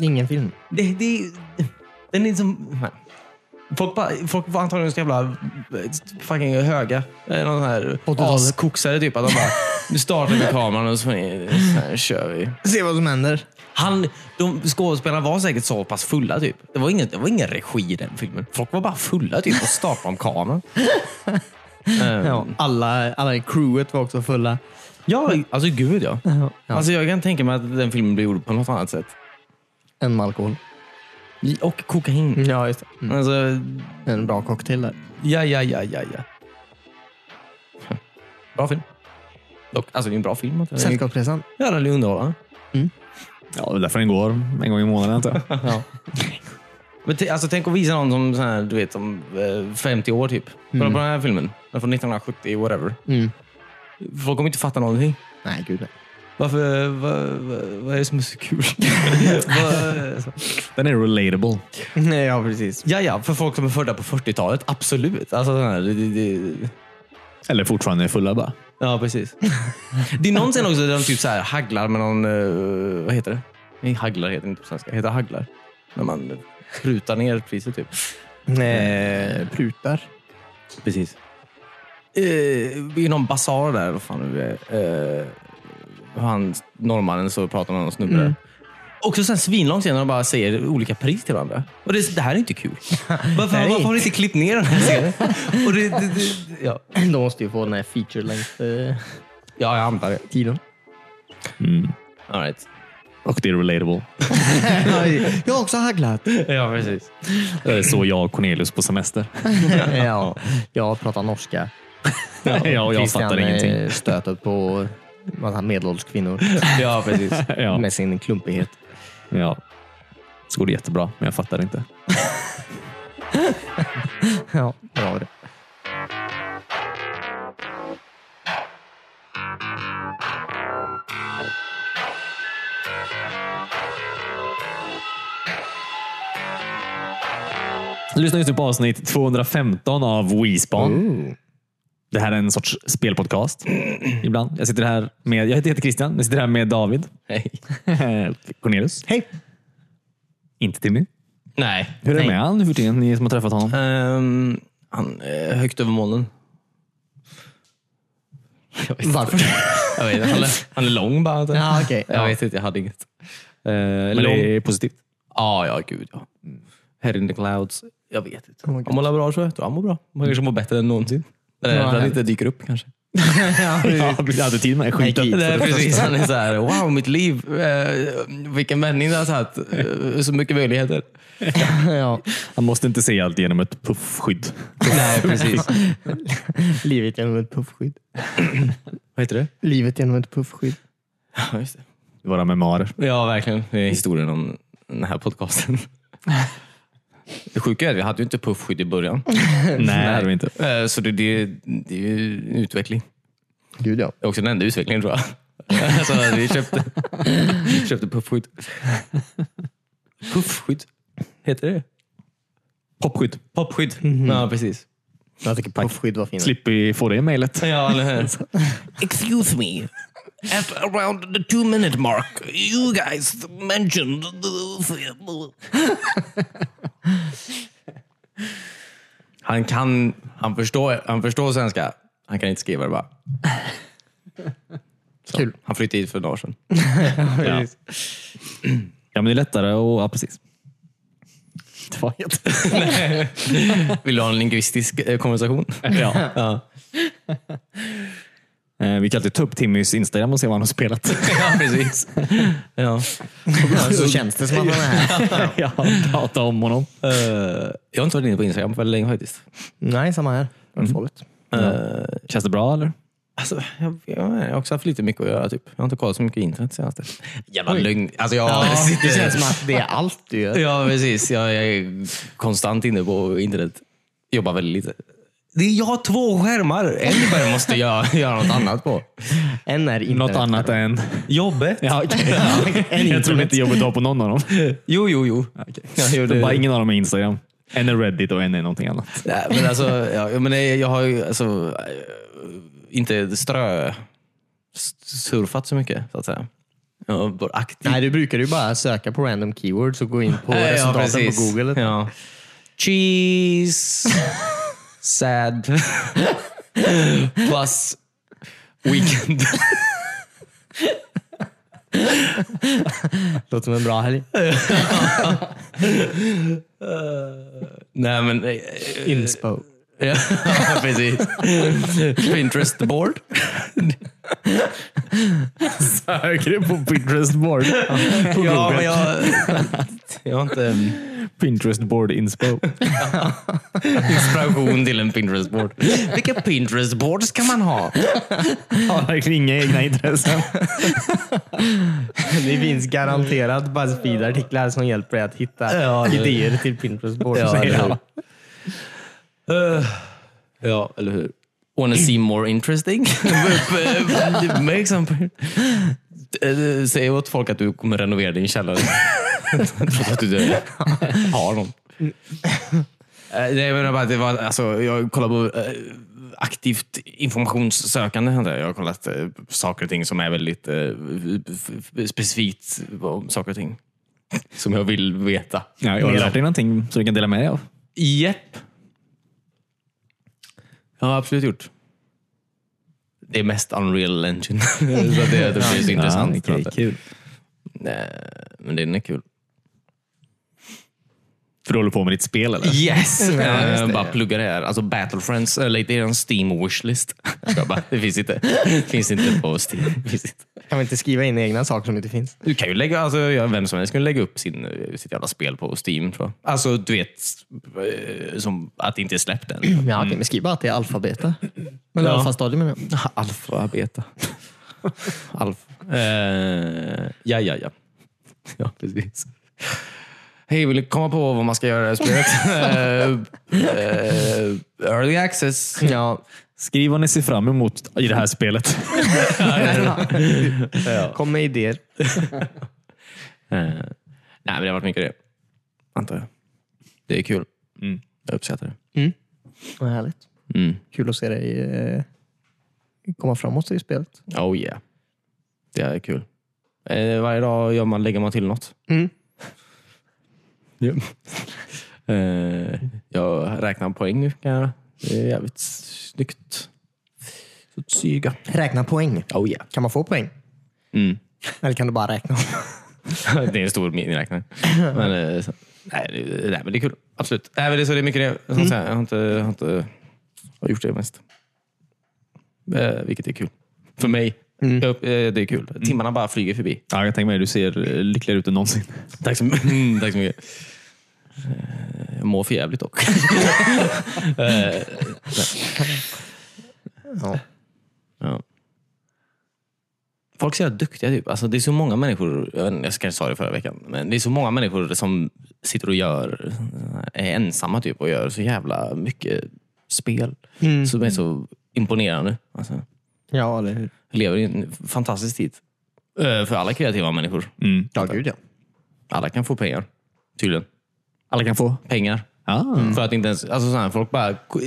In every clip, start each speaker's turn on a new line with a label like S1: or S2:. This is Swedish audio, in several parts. S1: Ingen film.
S2: Det, det, den är liksom... nej. Folk, bara, folk var antagligen så jävla eh, fucking höga. Eh, Någon sån här
S1: 80-talet.
S2: askoksare typ. Att de bara, nu startar vi kameran och så, så här, kör vi.
S1: Se vad som händer.
S2: Han, de skådespelarna var säkert så pass fulla typ. Det var ingen, det var ingen regi i den filmen. Folk var bara fulla typ och startade om kameran. Eh,
S1: Ja, alla, alla i crewet var också fulla.
S2: ja, alltså gud ja.
S1: Ja.
S2: Alltså, jag kan tänka mig att den filmen blir gjord på något annat sätt.
S1: En med alkohol.
S2: Och kokain.
S1: Ja, just det. Mm.
S2: Alltså,
S1: En bra cocktail där.
S2: ja, ja, ja, ja, ja. Bra film. Dock, alltså det är en bra film. att den är-
S1: Sällskapsresan.
S2: Ja, den är underhållande.
S3: Ja, det är därför den går en gång i månaden. Inte?
S1: Ja.
S2: Men t- alltså, tänk att visa någon som så här, du vet, om eh, 50 år typ. Kolla på den här filmen. Den är från 1970, whatever.
S1: Mm.
S2: Folk kommer inte fatta någonting.
S1: Nej, gud nej.
S2: Varför, vad, vad, vad är det som är så kul? Vad- eh,
S3: Den är relatable.
S1: Nej, ja, precis.
S2: ja, ja, för folk som är födda på 40-talet, absolut. Alltså, den här, det, det, det.
S3: Eller fortfarande är fulla bara.
S2: Ja, precis. Det är någon scen också där de typ så här hagglar med någon, eh, vad heter det? Nej, hagglar heter det inte på svenska. Det heter hagglar. När man prutar ner priset typ.
S1: Eh, prutar.
S2: Precis. Eh, I någon basar där, vad fan nu är. Eh, han, norrmannen så pratar med någon snubbe där. Också sen svinlång scen när de bara säger olika pris till varandra. Och det, det här är inte kul. Varför,
S1: Nej.
S2: varför har ni inte klippt ner den här scenen? Och det, det, det, ja.
S1: De måste ju få den här eh. feature length-tiden.
S2: ja, jag antar det. All right.
S3: Mm. Och det är relatable.
S1: jag har också hagglat.
S2: Ja, precis.
S3: Det är så jag och Cornelius på semester.
S1: ja, jag pratar norska.
S3: Ja, och jag fattar ingenting.
S1: stöter på massa medelålders kvinnor
S2: Ja, precis.
S3: Ja.
S1: med sin klumpighet.
S3: Ja. Så går det jättebra, men jag fattar inte.
S1: Ja, det var det.
S3: Du lyssnar just nu på avsnitt 215 av WeSpan. Det här är en sorts spelpodcast. Ibland. Jag sitter här med, jag heter heter Christian. Jag sitter här med David.
S2: Nej.
S3: Cornelius. Hej. Inte Timmy.
S2: Nej.
S3: Hur är det med han nu för tiden, ni som har träffat honom?
S2: Ehm, han är högt över molnen.
S1: Varför?
S2: Jag vet, inte, han, är, han är lång bara.
S1: ja, okej.
S2: Jag vet inte, jag hade inget. Eh,
S3: Men
S2: lång.
S3: det är positivt.
S2: Ja, ja, gud ja. Mm. Head in the clouds. Jag vet inte.
S1: Oh my God.
S2: han mår bra tror jag. jag. tror Han mår bra. Han kanske mår bättre än någonsin. Det
S1: Ja,
S2: är att han
S1: härligt.
S2: inte dyker upp kanske.
S1: Ja, precis.
S3: Ja, du hade tid med skiten.
S1: Nej,
S2: Det
S3: För
S2: är
S3: det
S2: precis.
S3: första.
S2: Han är så här, wow, mitt liv. Eh, vilken vändning det har tagit. Eh, så mycket möjligheter.
S1: ja.
S3: Han måste inte se allt genom ett puffskydd.
S2: Nej, precis.
S1: Livet genom ett puffskydd.
S2: Vad heter det?
S1: Livet genom ett puffskydd.
S2: Ja, just det.
S3: Våra memoarer.
S2: Ja, verkligen. Det är historien om den här podcasten. Det sjuka är att vi hade ju inte puffskydd i början.
S3: Nej, det hade vi inte.
S2: Eh, Så det, det, det är ju en utveckling.
S1: Gud ja.
S2: Det är också den enda utvecklingen tror jag. Så vi köpte, vi köpte puffskydd. Puffskydd? Heter det
S3: Popskydd.
S2: Popskydd. Mm-hmm. Ja, precis.
S1: Jag tycker puffskydd var finare.
S3: Slipper vi få det i mejlet.
S2: Ja, eller hur? Alltså, Excuse me. At around the two minute mark, you guys mentioned... han kan... Han förstår, han förstår svenska. Han kan inte skriva det bara.
S1: Kul.
S2: Han flyttade hit för några år sedan.
S3: Ja. ja, men det är lättare och ja, precis. Det var helt...
S2: Vill du ha en lingvistisk eh, konversation?
S3: ja.
S2: Ja.
S3: Eh, Vi kan alltid ta upp Timmys Instagram och se vad han har spelat.
S2: Ja, precis. Ja.
S1: Så känns det som att man är här.
S3: ja, prata om honom.
S2: Eh, jag har inte varit inne på Instagram på väldigt länge faktiskt.
S1: Nej, samma här. Det var farligt.
S3: Känns det bra eller?
S2: Alltså, jag, jag, har också haft lite mycket att göra. Typ. Jag har inte kollat så mycket internet senaste. Jävla lögn. Alltså, jag,
S1: Ja, det känns
S2: sitter,
S1: som att det är allt du gör.
S2: ja, precis. Jag, jag är konstant inne på internet. Jobbar väldigt lite. Det är, jag har två skärmar. En skärm måste jag göra något annat på.
S1: En är internet.
S3: Något annat än...
S2: Jobbet?
S3: Eh, Ja, okej. jag tror inte jobbet har på någon av dem.
S2: Jo, jo, jo. Ja, jo,
S3: Det
S2: det-
S3: är bara ingen av dem är Instagram. En är Reddit och en är någonting annat.
S2: Nej, men alltså, ja, ja, men det- jag har ju alltså, eh, inte strö surfat så mycket, så att säga. Ja, bara aktiv.
S1: Nej, du brukar ju bara söka på random keywords och gå in på
S2: Ja,
S1: resultaten på
S2: precis.
S1: Google.
S2: Ja. Cheese. Sad. Plus weekend.
S1: Låter som en bra helg.
S2: Nej men... eh,
S1: Inspo.
S2: Ja, precis. Pinterest board.
S3: Söker du på Pinterest board? på
S2: Ja, men
S3: Google.
S2: jag... Jag har inte
S3: Pinterest board inspo.
S2: inspiration till en Pinterest board. Vilka Pinterest boards kan man ha?
S3: Har verkligen inga egna intressen.
S1: Det finns garanterat Buzzfeed-artiklar som hjälper dig att hitta
S2: Ja, det-
S1: idéer till Pinterest board.
S2: Ja,
S1: säger
S2: eller
S1: alla.
S2: Eh, ja, eller hur? Wanna see more interesting? Make some... Eh, Säg åt folk att du kommer renovera din källare. Trots att du dör. har någon. Eh, Nej, jag menar bara att det var, alltså, jag kollar på eh, aktivt informationssökande. händer det. Jag har kollat eh, saker och ting som är väldigt eh, f- f- specifikt om saker och ting. Som jag vill veta.
S3: Ja, jag har lärt dig någonting som du kan dela med dig av.
S2: Japp. Jag har absolut gjort. Det är mest Unreal Engine. så att det, det blir så intressant. tror jag inte.
S3: kul.
S2: Nej, men den är kul.
S3: För du håller på med ditt spel eller?
S2: Yes!
S1: Ja, just det.
S2: bara plugga det här. Alltså Battle Friends, eller det är en Steam wishlist. Jag bara, det finns inte. Det finns inte på Steam. Det Finns inte.
S1: Kan vi inte skriva in egna saker som inte finns?
S2: Du kan ju lägga, alltså, ja, vem som helst kan ju lägga upp sin, eh, sitt jävla spel på Steam. Tror jag. Alltså du vet, eh, som att det inte är släppt än.
S1: Ja, okej, men skriv bara att det är alfabeta. Eller
S2: Mm. Ja.
S1: alfastadium menar jag.
S2: Alfabeta. Alf. Eh, ja, ja, ja. Ja, precis. Hej, vill du komma på vad man ska göra i det här spelet? Eh, eh, early access.
S1: Ja,
S3: Skriv vad ni ser fram emot i det här spelet.
S1: kom med idéer.
S2: Eh, nej, men det har varit mycket det. Antar jag. Det är kul. Jag uppskattar det.
S1: Vad härligt.
S2: Mm.
S1: Kul att se dig eh, komma framåt i spelet.
S2: Oh yeah. Det är kul. Eh, varje dag gör man, lägger man till något.
S1: Mm.
S2: Ja. Eh, jag räknar poäng nu kan jag göra. Det är jävligt snyggt. Så att syga.
S1: Räkna poäng.
S2: Oh yeah.
S1: Kan man få poäng?
S2: Mm.
S1: Eller kan du bara räkna?
S2: det är en stor miniräknare. men, eh, så- nej, det- nej, men det är kul. Absolut. Nej, men det, är så det är mycket det. Som sagt, Jag har inte, jag har inte jag har gjort det mest. Eh, vilket är kul. För mig. Jag, upp- eh, det är kul. Timmarna bara flyger förbi.
S3: Ja, jag tänker mig du ser eh, lyckligare ut än någonsin.
S2: Tack så, mycket. Mm, Tack så mycket. Eh, Jag mår för jävligt dock. Eh,
S1: Ja.
S2: Ja. Folk är så jävla duktiga. Typ. Alltså, det är så många människor, jag vet inte, jag kanske sa det förra veckan, men det är så många människor som sitter och gör, är ensamma typ och gör så jävla mycket spel som är så imponerande. Alltså,
S1: ja, eller hur?
S2: vi lever i en fantastisk tid. Eh, För alla kreativa människor.
S1: Ja, gud ja.
S2: Alla kan få pengar. Tydligen.
S3: Alla kan få.
S2: Pengar.
S3: Ah.
S2: För att inte ens, alltså sådana här folk bara gå-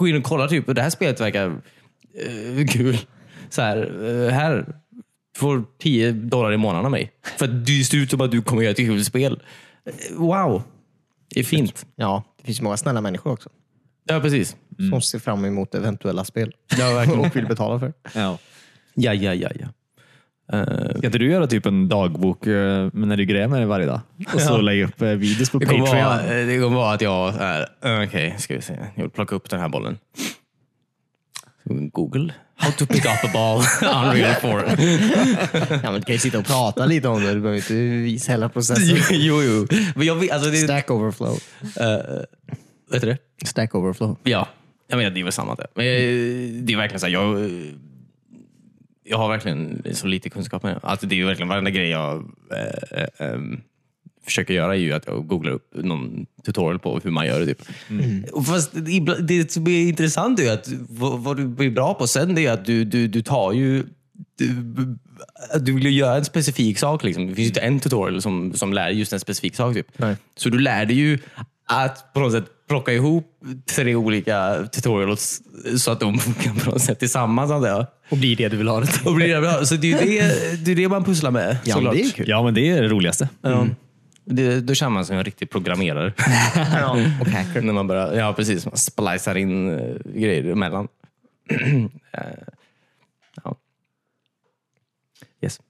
S2: gå in och kolla typ, det här spelet verkar eh, kul. Så här, eh, här får 10 dollar i månaden av mig. För att du ser ut som att du kommer göra ett kul spel. Eh, Wow! Det är fint.
S1: Ja, det finns ju många snälla människor också.
S2: Ja, precis.
S1: Som ser fram emot eventuella spel.
S2: Mm. Ja, verkligen.
S1: Och vill betala för.
S3: Ja.
S2: Ja, ja, ja, ja. Eh,
S3: Ska inte du göra typ en dagbok eh, men när du gräver med dig varje dag? Och så lägga upp eh, videos på
S2: det, kommer
S3: Patreon.
S2: vara, eh, det kommer vara att jag är, eh, okej, ska vi se. Jag vill plocka upp den här bollen. Google. How to pick up a ball. Unreal 4.
S1: Ja, men du kan ju sitta och prata lite om det. Du behöver inte visa hela processen.
S2: jo, jo. Men jag vet, alltså det...
S1: Stack overflow.
S2: vet du det?
S1: Stack overflow.
S2: Ja. Jag menar, det är väl samma det. Men eh, det är verkligen så här, jag... eh, Jag har verkligen så lite kunskap med det. Alltså det är ju verkligen varenda grej jag eh, eh, ehm, försöker göra är ju att jag googlar upp någon tutorial på hur man gör det. Typ. Och Fast ibla- det som är intressant är ju att vad, vad du blir bra på sen det är ju att du, du, du tar ju du, du vill ju göra en specifik sak. Liksom. Det finns ju inte en tutorial som, som lär just en specifik sak. Typ.
S1: Nej.
S2: Så du lär dig ju att på något sätt plocka ihop tre olika tutorials så att de funkar på något sätt tillsammans antar jag.
S1: Och blir det du vill ha det till.
S2: Och blir det bra. Så det är ju det, det, är det man pusslar med
S1: Ja,
S2: såklart.
S1: det är ju kul.
S3: Ja, men det är det roligaste.
S2: Ja. Det, då känner man sig som en riktig programmerare.
S1: Och hacker.
S2: När man börjar, ja precis, man splicar in eh, grejer emellan. Eh, ja. Yes.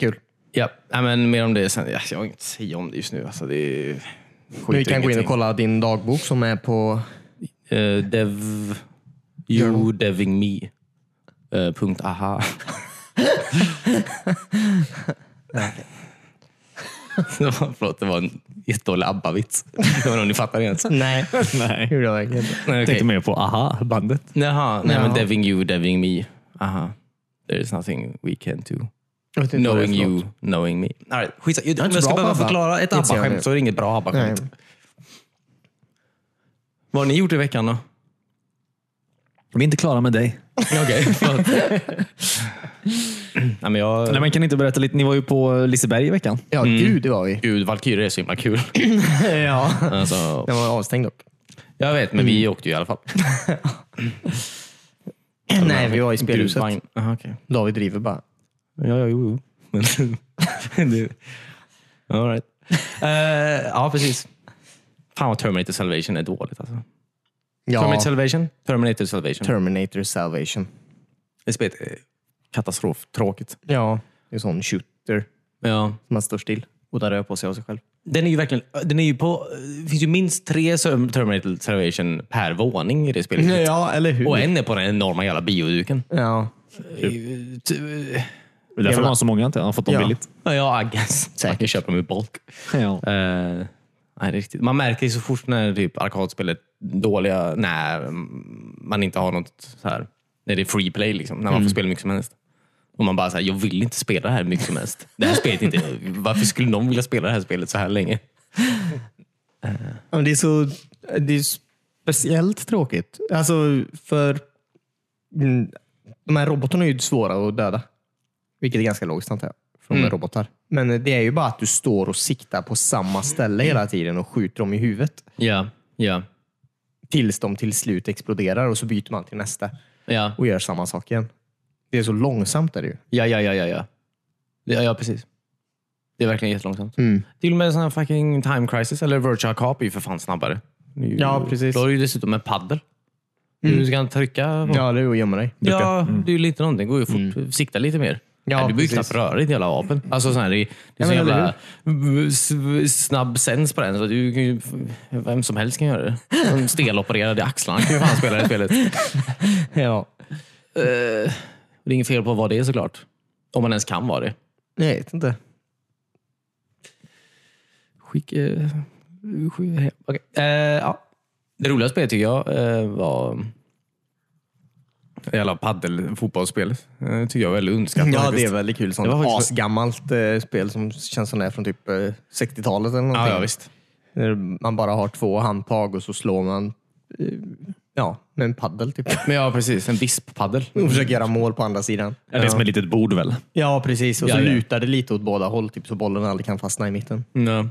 S1: Kul.
S2: Ja, nej, men mer om det sen. Ja, jag har inget att säga om det just nu. Alltså, det är skiter
S1: Vi kan gå in och
S2: ingenting.
S1: kolla din dagbok som är på...
S2: Eh, dev... You deving me. Eh, punkt aha. Det var- Förlåt, det var en jättedålig ABBA-vits. Jag vet inte om ni fattar det ens.
S1: Nej.
S3: Nej.
S1: Hur då verkligen?
S2: Nej,
S3: Tänkte
S2: okej.
S3: mer på aha-bandet.
S2: Jaha, nej men
S1: Jaha.
S2: deving you, deving me. Aha. There is nothing we can do.
S1: Jag vet inte vad det är
S2: Knowing
S1: för något.
S2: you, knowing me. All right, skitsa. Jag,
S1: inte
S2: om jag
S1: bra
S2: ska
S1: på
S2: behöva
S1: ABBA.
S2: förklara ett
S1: Inte jag
S2: ABBA-skämt
S1: det.
S2: så är det inget bra ABBA-skämt.
S1: Nej.
S2: Vad har ni gjort i veckan då?
S3: Vi är inte klara med dig.
S2: Okej, förlåt. nej, men jag...
S3: Nej, men kan ni inte berätta lite? Ni var ju på Liseberg i veckan.
S1: Ja,
S2: Mm.
S1: gud det var vi.
S2: Gud, Valkyrie är så himla kul.
S1: ja. Mm.
S2: Alltså,
S1: Den var avstängd dock.
S2: jag vet, men vi åkte ju i alla fall.
S1: Nej, vi var i spelhuset.
S2: Gruvvagn. Aha, okej.
S1: Alltså, David driver bara.
S2: Ja, ja, jo, jo. Men- det- All right. Eh, ja, precis. Fan vad Terminator Salvation är dåligt alltså. Terminator
S1: Ja,
S2: Salvation? Terminator Salvation.
S1: Terminator Salvation.
S2: Det spelet är eh, katastroftråkigt.
S1: Ja, det är en sån shooter
S2: Ja.
S1: som man står still och där rör på sig av sig själv.
S2: Den är ju verkligen, den är ju på, det finns ju minst tre Ser- Terminator Salvation per våning i det spelet.
S1: Ja, eller hur?
S2: Och en är på den enorma jävla bioduken. Eh,
S1: Ja,
S3: Det är därför
S1: Jävlar.
S3: de har så många. Inte? Han har fått dem
S1: Ja.
S3: billigt.
S2: Ja, I guess. Man kan köpa dem i bulk.
S3: Ja.
S2: Eh, nej, det är riktigt. Man märker ju så fort när typ arkadspel är dåliga, när man inte har något så här, när det är free play, liksom, när man får spela mycket som helst. Och man bara, så här, jag vill inte spela det här mycket som helst. Det här spelet är inte, varför skulle någon vilja spela det här spelet så här länge?
S1: Ja, men det är så det är speciellt tråkigt. Alltså för mm, de här robotarna är ju svåra att döda. Vilket är ganska logiskt antar jag. För de är robotar. Men det är ju bara att du står och siktar på samma ställe hela tiden och skjuter dem i huvudet.
S2: Ja, ja,
S1: Tills de till slut exploderar och så byter man till nästa
S2: ja,
S1: och gör samma sak igen. Det är så långsamt är det ju.
S2: ja, ja, ja, ja, ja. Ja, ja precis. Det är verkligen jättelångsamt. Till och med sån här fucking time crisis eller virtual cop är ju för fan snabbare. Det är ju-
S1: Ja, precis.
S2: Då har du ju dessutom en paddel. Du ska trycka på
S1: Ja, det är ju att gömma dig.
S2: Ja, det är ju lite någonting. Går ju fort. Sikta lite mer.
S1: Mm. Ja,
S2: Nej, du behöver ju knappt
S1: precis.
S2: röra ditt jävla vapen. Alltså, sån här, det, det är
S1: Ja,
S2: så
S1: men
S2: jävla s- snabb sens på den. Så du, kan ju- vem som helst kan göra det. En stelopererad i axlarna kan ju fan spela det här spelet.
S1: Ja.
S2: Det är inget fel på vad det är såklart. Om man ens kan vara det.
S1: Jag vet inte.
S2: Skick... Eh, skick hem. Okej. Eh, ja. Det roliga spelet tycker jag eh, var... Jävla padel, fotbollsspel. Eh, tycker jag är väldigt underskattat.
S1: Ja,
S2: faktiskt.
S1: det är väldigt kul. Sånt
S2: Det var faktiskt-
S1: asgammalt eh, spel som känns som det är från typ eh, 60-talet eller någonting.
S2: Ja, ja, visst.
S1: Där Man bara har två handtag och så slår man eh, ja, med en paddel typ.
S2: Men ja, precis. En visp-paddel.
S1: Och försöker göra mål på andra sidan.
S3: Ja. Det är som ett litet bord väl?
S1: Ja, precis. Och
S2: så
S1: så lutar det lite åt båda håll typ, så bollen aldrig kan fastna i mitten.
S2: Nej.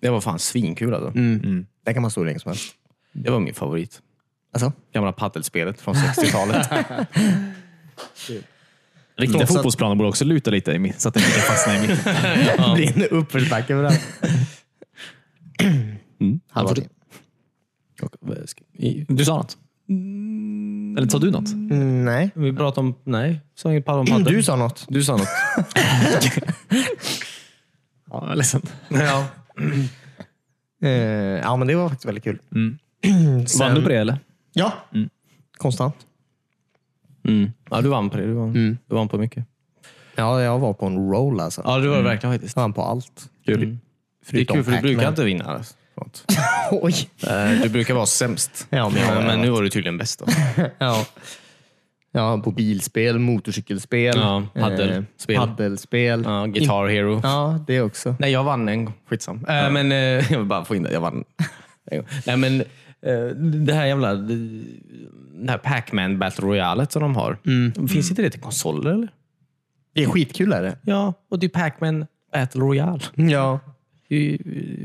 S2: Det var fan svinkul alltså.
S1: Mm. Där kan man stå hur länge som helst.
S2: Det var min favorit.
S1: Alltså?
S2: Gamla paddelspelet från 60-talet.
S3: Riktiga
S1: Trots att-
S3: fotbollsplaner borde också luta lite i mitt, så att det inte fastnar i mitten.
S1: Det blir en uppförsbacke för det. Halva tiden.
S2: eh,
S3: Du sa något? Eller sa du något?
S1: Mm, Nej.
S2: Vi pratade om... Nej, sa inget om paddel.
S1: Du sa något.
S2: Mm, du sa något.
S3: Ja, jag är ledsen.
S2: ja.
S1: Eh, ja, men det var faktiskt väldigt kul. Sen-
S3: Vann du på det eller?
S1: Ja. Konstant.
S2: ja, du vann på det. Du vann, du vann på mycket. Mm.
S1: Ja, jag var på en roll alltså.
S2: Mm. Ja, det var det verkligen faktiskt.
S1: Jag vann på allt.
S2: Mm. Det är kul för du brukar inte vinna. alltså. Sånt.
S1: Oj.
S2: Eh, Du brukar vara sämst.
S1: Ja, men jag har
S2: men
S1: varit.
S2: nu var du tydligen bäst. Då.
S1: Ja. Ja, på bilspel, motorcykelspel,
S2: Ja, paddelspel.
S1: eh, paddelspel.
S2: Ja, Guitar Hero.
S1: Ja, det också.
S2: Nej, jag vann en gång. Skitsam. Äh, men, eh, jag vill bara få in det. Jag vann en gång. Nej, men, eh, det här jävla det, det här Pac-Man Battle Royale som de har. Finns inte det till konsoler? Eller?
S1: Det är skitkul är det.
S2: Ja, och det är Pac-Man Battle Royale.
S1: Ja.
S2: Det är ju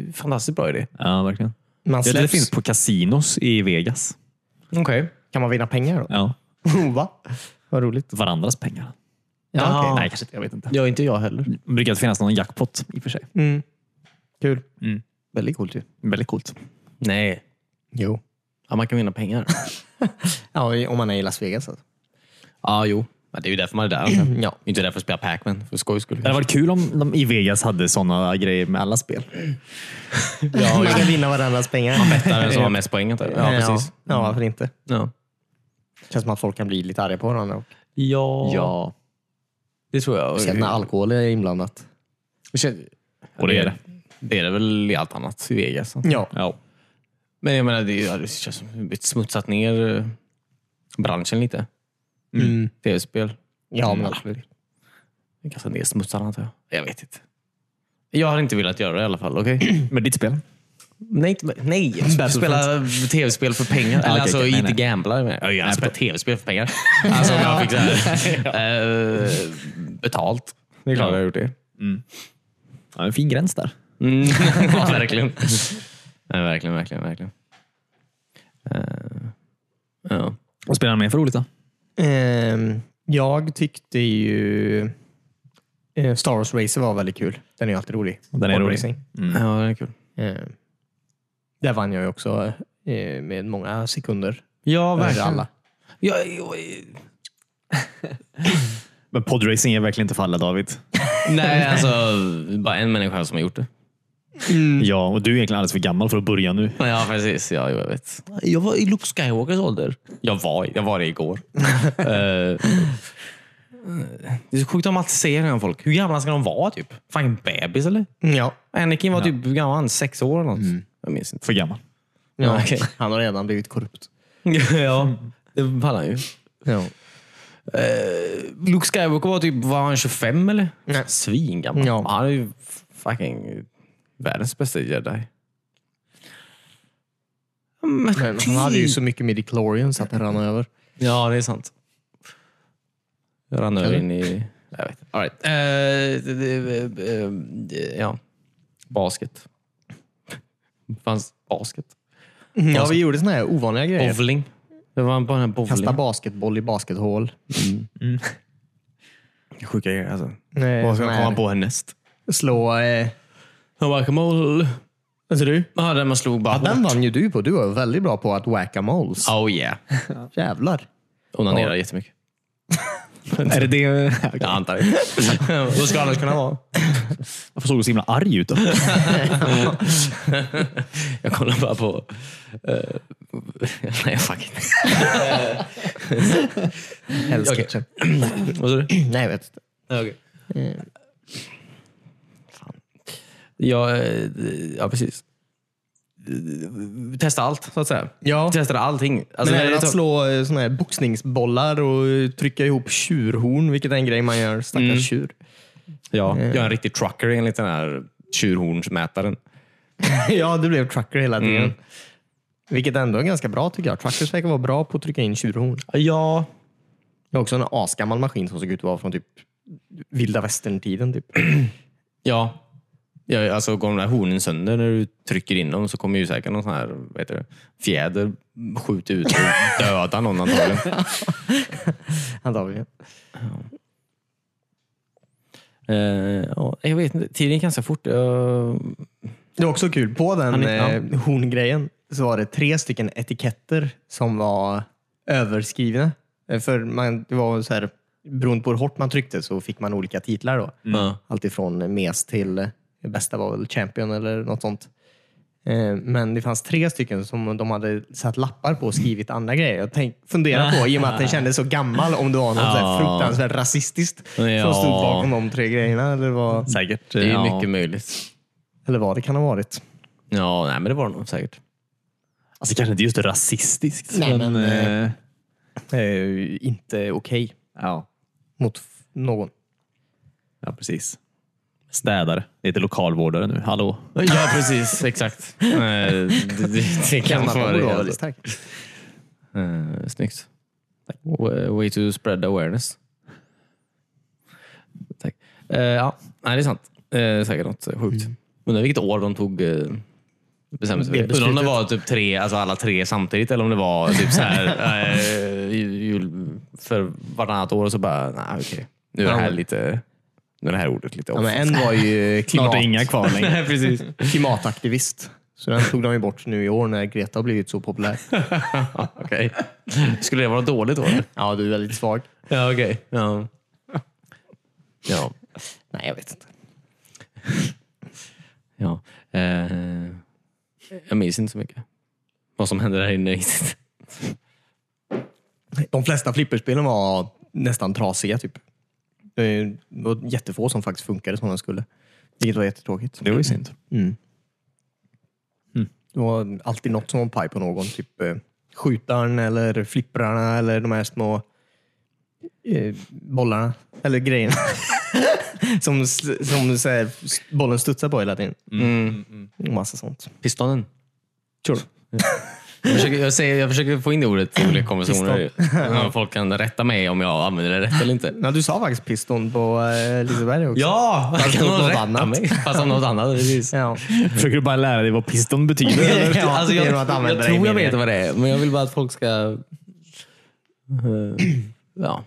S2: eh, fantastiskt bra idé.
S3: Ja, verkligen.
S1: Man
S3: Jag tror det
S1: släpps.
S3: finns på kasinos i Vegas.
S2: Okej.
S1: Kan man vinna pengar då?
S3: Ja.
S1: Va? Vad roligt.
S3: Varandras pengar.
S1: Ja, okej.
S3: Nej, kanske inte. Jag vet inte.
S2: Ja, inte jag heller.
S3: Det brukar alltid finnas någon jackpot i och för sig.
S1: Mm. Kul.
S3: Mm.
S1: Väldigt coolt ju.
S3: Väldigt coolt.
S2: Nej.
S1: Jo.
S2: Ja, man kan vinna pengar.
S1: Ja, om man är i Las Vegas. Alltså.
S2: Ja, jo. Men det är ju därför man är där.
S1: Ja.
S2: Inte därför att spela Pac-Man, för skojs skull.
S3: Det hade varit kul om de i Vegas hade sådana grejer med alla spel.
S1: Ja, man kan vinna varandras pengar.
S2: Bettaren som har mest poäng. antar jag. Ja, precis.
S1: Ja, Mm. ja, varför inte?
S2: Ja.
S1: Känns som att folk kan bli lite arga på varandra. och-
S2: Ja.
S3: Ja.
S2: det tror jag.
S1: Speciellt när alkohol är inblandat.
S2: Det känns-
S3: Och det är det.
S2: Det är det väl i allt annat i Vegas.
S1: Ja.
S3: Ja.
S2: Men jag menar, det, är ju- ja, det känns som det smutsat ner eh, branschen lite.
S1: Mm.
S2: Tv-spel.
S1: Ja, men absolut.
S2: Det kanske ner smutsar antar jag. Jag vet inte. Jag har inte velat göra det i alla fall. Okej?
S3: Med ditt spel?
S2: nej, inte- nej. Spela tv-spel för pengar. Eller
S3: okej,
S2: alltså
S3: okej. Nej,
S2: inte
S3: nej.
S2: gambla. men- Jag gärna spela tv-spel för pengar. alltså om jag fick så här, eh, betalt. Det är klart jag har gjort det.
S3: Ja, en fin gräns där.
S2: Mm. ja, verkligen. Nej, verkligen, verkligen, verkligen. Eh, ja.
S3: Vad spelar han med för roligt då?
S1: Ehm, jag tyckte ju eh, Star Wars Racer var väldigt kul. Den är ju alltid rolig.
S3: Den är rolig.
S1: Racing.
S2: ja, det är kul.
S1: Ehm, där vann jag ju också eh, med många sekunder.
S2: Ja,
S1: Över
S2: verkligen.
S1: alla.
S2: Ja, jag,
S3: Men podracing är verkligen inte för alla David.
S2: Nej, alltså bara en människa som har gjort det.
S3: Ja, och du är egentligen alldeles för gammal för att börja nu.
S2: Ja, precis. Ja, jo, jag vet. Jag var i Luke Skywalkers ålder. Jag var, jag var det igår. Eh, det är så sjukt om alltid säger det om folk. Hur gamla ska de vara? typ? Fan, bebis eller?
S1: Ja.
S2: Anakin var typ hur gammal, var han? sex år eller något. Jag minns inte.
S3: För gammal.
S1: ja.
S2: okej.
S1: Han har redan blivit korrupt.
S2: ja, det pallar ju.
S1: Ja.
S2: Luke Skywalker var typ, var han 25 eller?
S1: Nej.
S2: Svingammal.
S1: Ja.
S2: Han är ju fucking världens bästa jedi. Men
S1: Men han hade
S2: Mm.
S1: ju så mycket midichlorian så att det rann över.
S2: Ja, det är sant. Jag rann över
S1: Eller?
S2: in i... Jag vet inte. All right. Eh, det- det- eh, eh, ja. Basket. fanns basket.
S1: Mm. Ja, vi gjorde såna här ovanliga grejer.
S2: Bowling. Det var bara en bowling.
S1: Kasta basketboll i baskethål.
S2: Sjuka grejer alltså.
S1: Eh,
S2: Vad ska
S1: såna
S2: jag
S1: här-
S2: komma på härnäst?
S1: Slå... Eh,
S2: Whack-a-mole.
S1: alltså du?
S2: Ja, den man slog bara
S1: Den
S2: hårt.
S1: vann ju du på. Du var väldigt bra på att wacka moles.
S2: Oh yeah.
S1: Jävlar.
S2: Onanerar jättemycket.
S3: är det det?
S2: Jag antar det. Vad ska det annars kunna vara?
S3: Varför såg du så himla arg ut? Då?
S2: Jag kollar bara på... eh, nej, fuck inte.
S1: Hell's
S2: Okej.
S1: Kitchen.
S2: Vad sa du?
S1: Nej, jag vet inte. Eh,
S2: Ja, eh, ja, precis. Testa allt, så att säga.
S1: Ja.
S2: Testade allting. Alltså,
S1: Men
S2: det
S1: även
S2: är
S1: att
S2: så-
S1: slå eh, såna här boxningsbollar och eh, trycka ihop tjurhorn, vilket är en grej man gör. Stackars tjur.
S2: ja, jag är en riktig trucker enligt den här tjurhornsmätaren.
S1: ja, du blev trucker hela tiden. Vilket ändå är ganska bra tycker jag. Truckers verkar vara bra på att trycka in tjurhorn.
S2: Ja.
S1: Jag har också en asgammal maskin som såg ut att vara från typ vilda västern-tiden. Typ.
S2: Ja. ja alltså, går de där hornen sönder när du trycker in dem så kommer ju säkert någon sån här vad heter det, fjäder skjuta ut och döda någon antagligen.
S1: Antagligen.
S2: Eh, ja, jag vet inte, tiden gick ganska fort. Jag-
S1: Det var också kul. På den
S2: Han är-
S1: eh, horngrejen så var det tre stycken etiketter som var överskrivna. Eh, För man, det var så här, beroende på hur hårt man tryckte så fick man olika titlar. Då.
S2: Ja.
S1: Allt ifrån mes till eh, bästa var väl champion eller något sånt. Eh, Men det fanns tre stycken som de hade satt lappar på och skrivit andra grejer. Jag tänk, funderar på, i och med att den kändes så gammal, om det var något så här
S2: Ja.
S1: fruktansvärt rasistiskt
S2: Ja.
S1: som stod bakom de tre grejerna. Eller vad,
S3: Säkert.
S2: Det är
S3: ja.
S2: mycket möjligt.
S1: eller vad det kan ha varit.
S2: Ja, nej, men det var det nog säkert.
S3: Alltså kanske inte just rasistiskt.
S1: Nej,
S3: men,
S1: men,
S3: eh,
S1: Eh, inte okej
S3: ja.
S1: mot f- någon.
S3: ja, precis. Städare. Det heter lokalvårdare nu. Hallå.
S2: Ja, precis. Exakt. Eh, det, det, det kan
S1: Gamla ord
S2: vara det.
S1: var
S2: Alltså.
S1: väldigt starkt.
S2: Uh, snyggt. Tack. Way- Way to spread awareness. Tack. Eh, ja, nej, det är sant. Uh, säkert något sjukt. Undrar vilket år de tog eh, bestämde sig
S1: Mm. Det
S2: för det. Undrar om det
S1: beslutet.
S2: var typ tre, alltså alla tre samtidigt eller om det var typ så här, eh, jul för vartannat år och så bara, nej okej. Nu är det här lite, nu är det här ordet lite off.
S1: Ja, men en var ju
S3: Snart
S1: klimat,
S3: är inga kvar längre.
S2: Nej, precis.
S1: klimataktivist. Så den tog de ju bort nu i år när Greta har blivit så populär.
S2: Okej. Skulle det vara dåligt då? eller?
S1: Ja, du är väldigt svag.
S2: Ja, okej. Ja. Ja.
S1: Nej, jag vet inte.
S2: ja. Eh, jag minns inte så mycket. Vad som hände där inne riktigt.
S1: De flesta flipperspelen var nästan trasiga. typ. Det var jättefå som faktiskt funkade som de skulle. Vilket var jättetråkigt.
S3: Det var ju synd.
S1: Mm.
S2: Mm.
S1: Det var alltid något som var paj på någon. Typ eh, skjutaren eller flipprarna eller de här små eh, bollarna. Eller grejerna. som s- som så här, s- bollen studsar på hela tiden.
S2: Mm.
S1: Och Massa sånt.
S2: Pistonen. Sure. Jag försöker, jag, säger, jag försöker få in det ordet i olika konversationer. Ja, Folk kan rätta mig om jag använder det rätt eller inte.
S1: Ja, du sa faktiskt piston på eh, Liseberg också.
S2: Ja! Fast kan
S1: om något
S2: någon rätta
S1: annat.
S2: mig? Fast om något annat. Precis.
S1: Ja.
S3: Försöker du bara lära dig vad piston betyder?
S1: Ja,
S2: alltså jag,
S1: genom att
S2: jag,
S1: använda det i
S2: tror jag
S1: meningen.
S2: vet vad det är, men jag vill bara att folk ska eh, ja,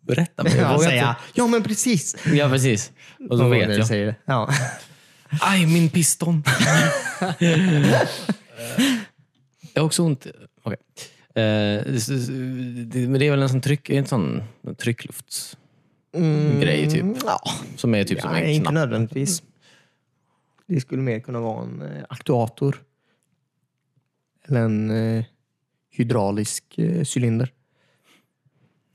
S2: berätta. Men jag
S1: Ja,
S2: vågar
S1: säga, ja men precis.
S2: inte. ja, precis. Och då
S1: Vad var
S2: vet
S1: det du
S2: jag.
S1: Säger. Ja.
S2: Aj, min piston. jag har också ont. Okej. Eh, s- s- det- Men det är väl en sån tryck, en sån trycklufts grej typ. Som är typ som
S1: Mm. Nej,
S2: en
S1: inte
S2: knapp. Mm.
S1: nödvändigtvis. Det skulle mer kunna vara en eh, aktuator. Eller en eh, hydraulisk eh, cylinder.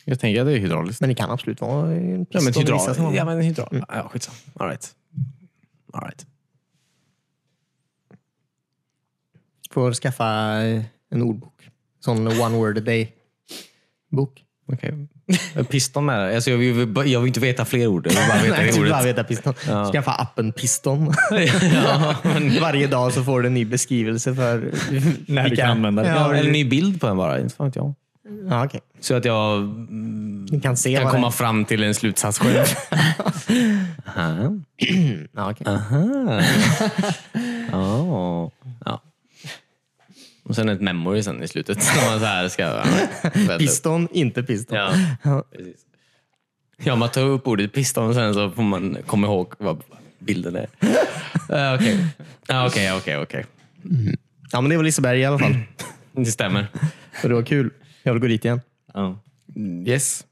S2: Jag tänker att det är hydrauliskt.
S1: Men det kan absolut vara en
S2: Ja,
S1: piston
S2: men
S1: i vissa
S2: hydral.
S1: sammanhang.
S2: Ja, men hydral. Ja, skitsamma. All right. All right.
S1: Får skaffa eh, en ordbok. Sån one word a day bok.
S2: Okej. Piston med det. Alltså jag, vill, jag vill inte veta fler ord. Jag vill bara veta
S1: Nej,
S2: det
S1: du
S2: ordet.
S1: bara veta piston. Skaffa appen Piston. Varje dag så får du en ny beskrivelse för
S3: När du kan använda det.
S1: Ja,
S2: Ja, eller en ny bild på en bara. Inte fan vet jag.
S1: ja, okej.
S2: Så att jag
S1: Du kan se
S2: kan
S1: vad
S2: komma fram till en slutsats själv. Aha.
S1: det ja, okej.
S2: Aha. Ja. ja. Och sen ett memory sen i slutet. Som man så här ska... ja,
S1: Piston, inte piston.
S2: Ja, precis. Ja, man tar upp ordet piston och sen så får man komma ihåg vad bilden är. Eh, Okej, Ja, okej, okej, okej.
S1: Ja, men det var Liseberg i alla fall.
S2: Det stämmer.
S1: Och det var kul. Jag vill gå dit igen.
S2: Mm, Yes.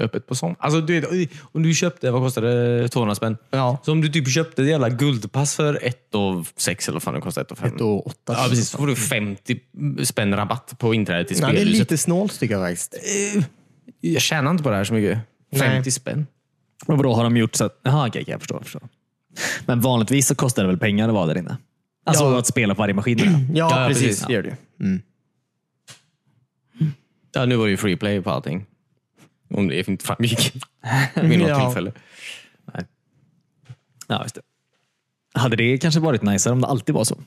S2: Öppet på sånt. Alltså, du vet, om du köpte, vad kostade det? 200 spänn?
S1: Ja.
S2: Så om du typ köpte ett jävla guldpass för 1 och 6 eller vad fan det kostar, 1 och 5.
S1: Ett och åtta.
S2: Ja, precis. Så får du 50 spänn rabatt på inträdet till
S1: Nej, det är
S2: spelhuset.
S1: lite snålt tycker jag faktiskt.
S2: Jag tjänar inte på det här så mycket. 50
S1: Nej.
S2: spänn.
S3: Men vadå, har de gjort så att... Jaha, okej, okej, jag förstår, jag förstår. Men vanligtvis så kostar det väl pengar att vara där inne? Alltså
S1: Ja.
S3: att spela på varje maskin. menar jag.
S1: Ja,
S2: ja,
S1: precis.
S2: precis.
S1: Det gör det ju.
S2: Ja, nu var det ju free play på allting. Om det inte framgick vid något
S1: Ja.
S2: tillfälle.
S3: ja, just det. Hade det kanske varit nicer om det alltid var så?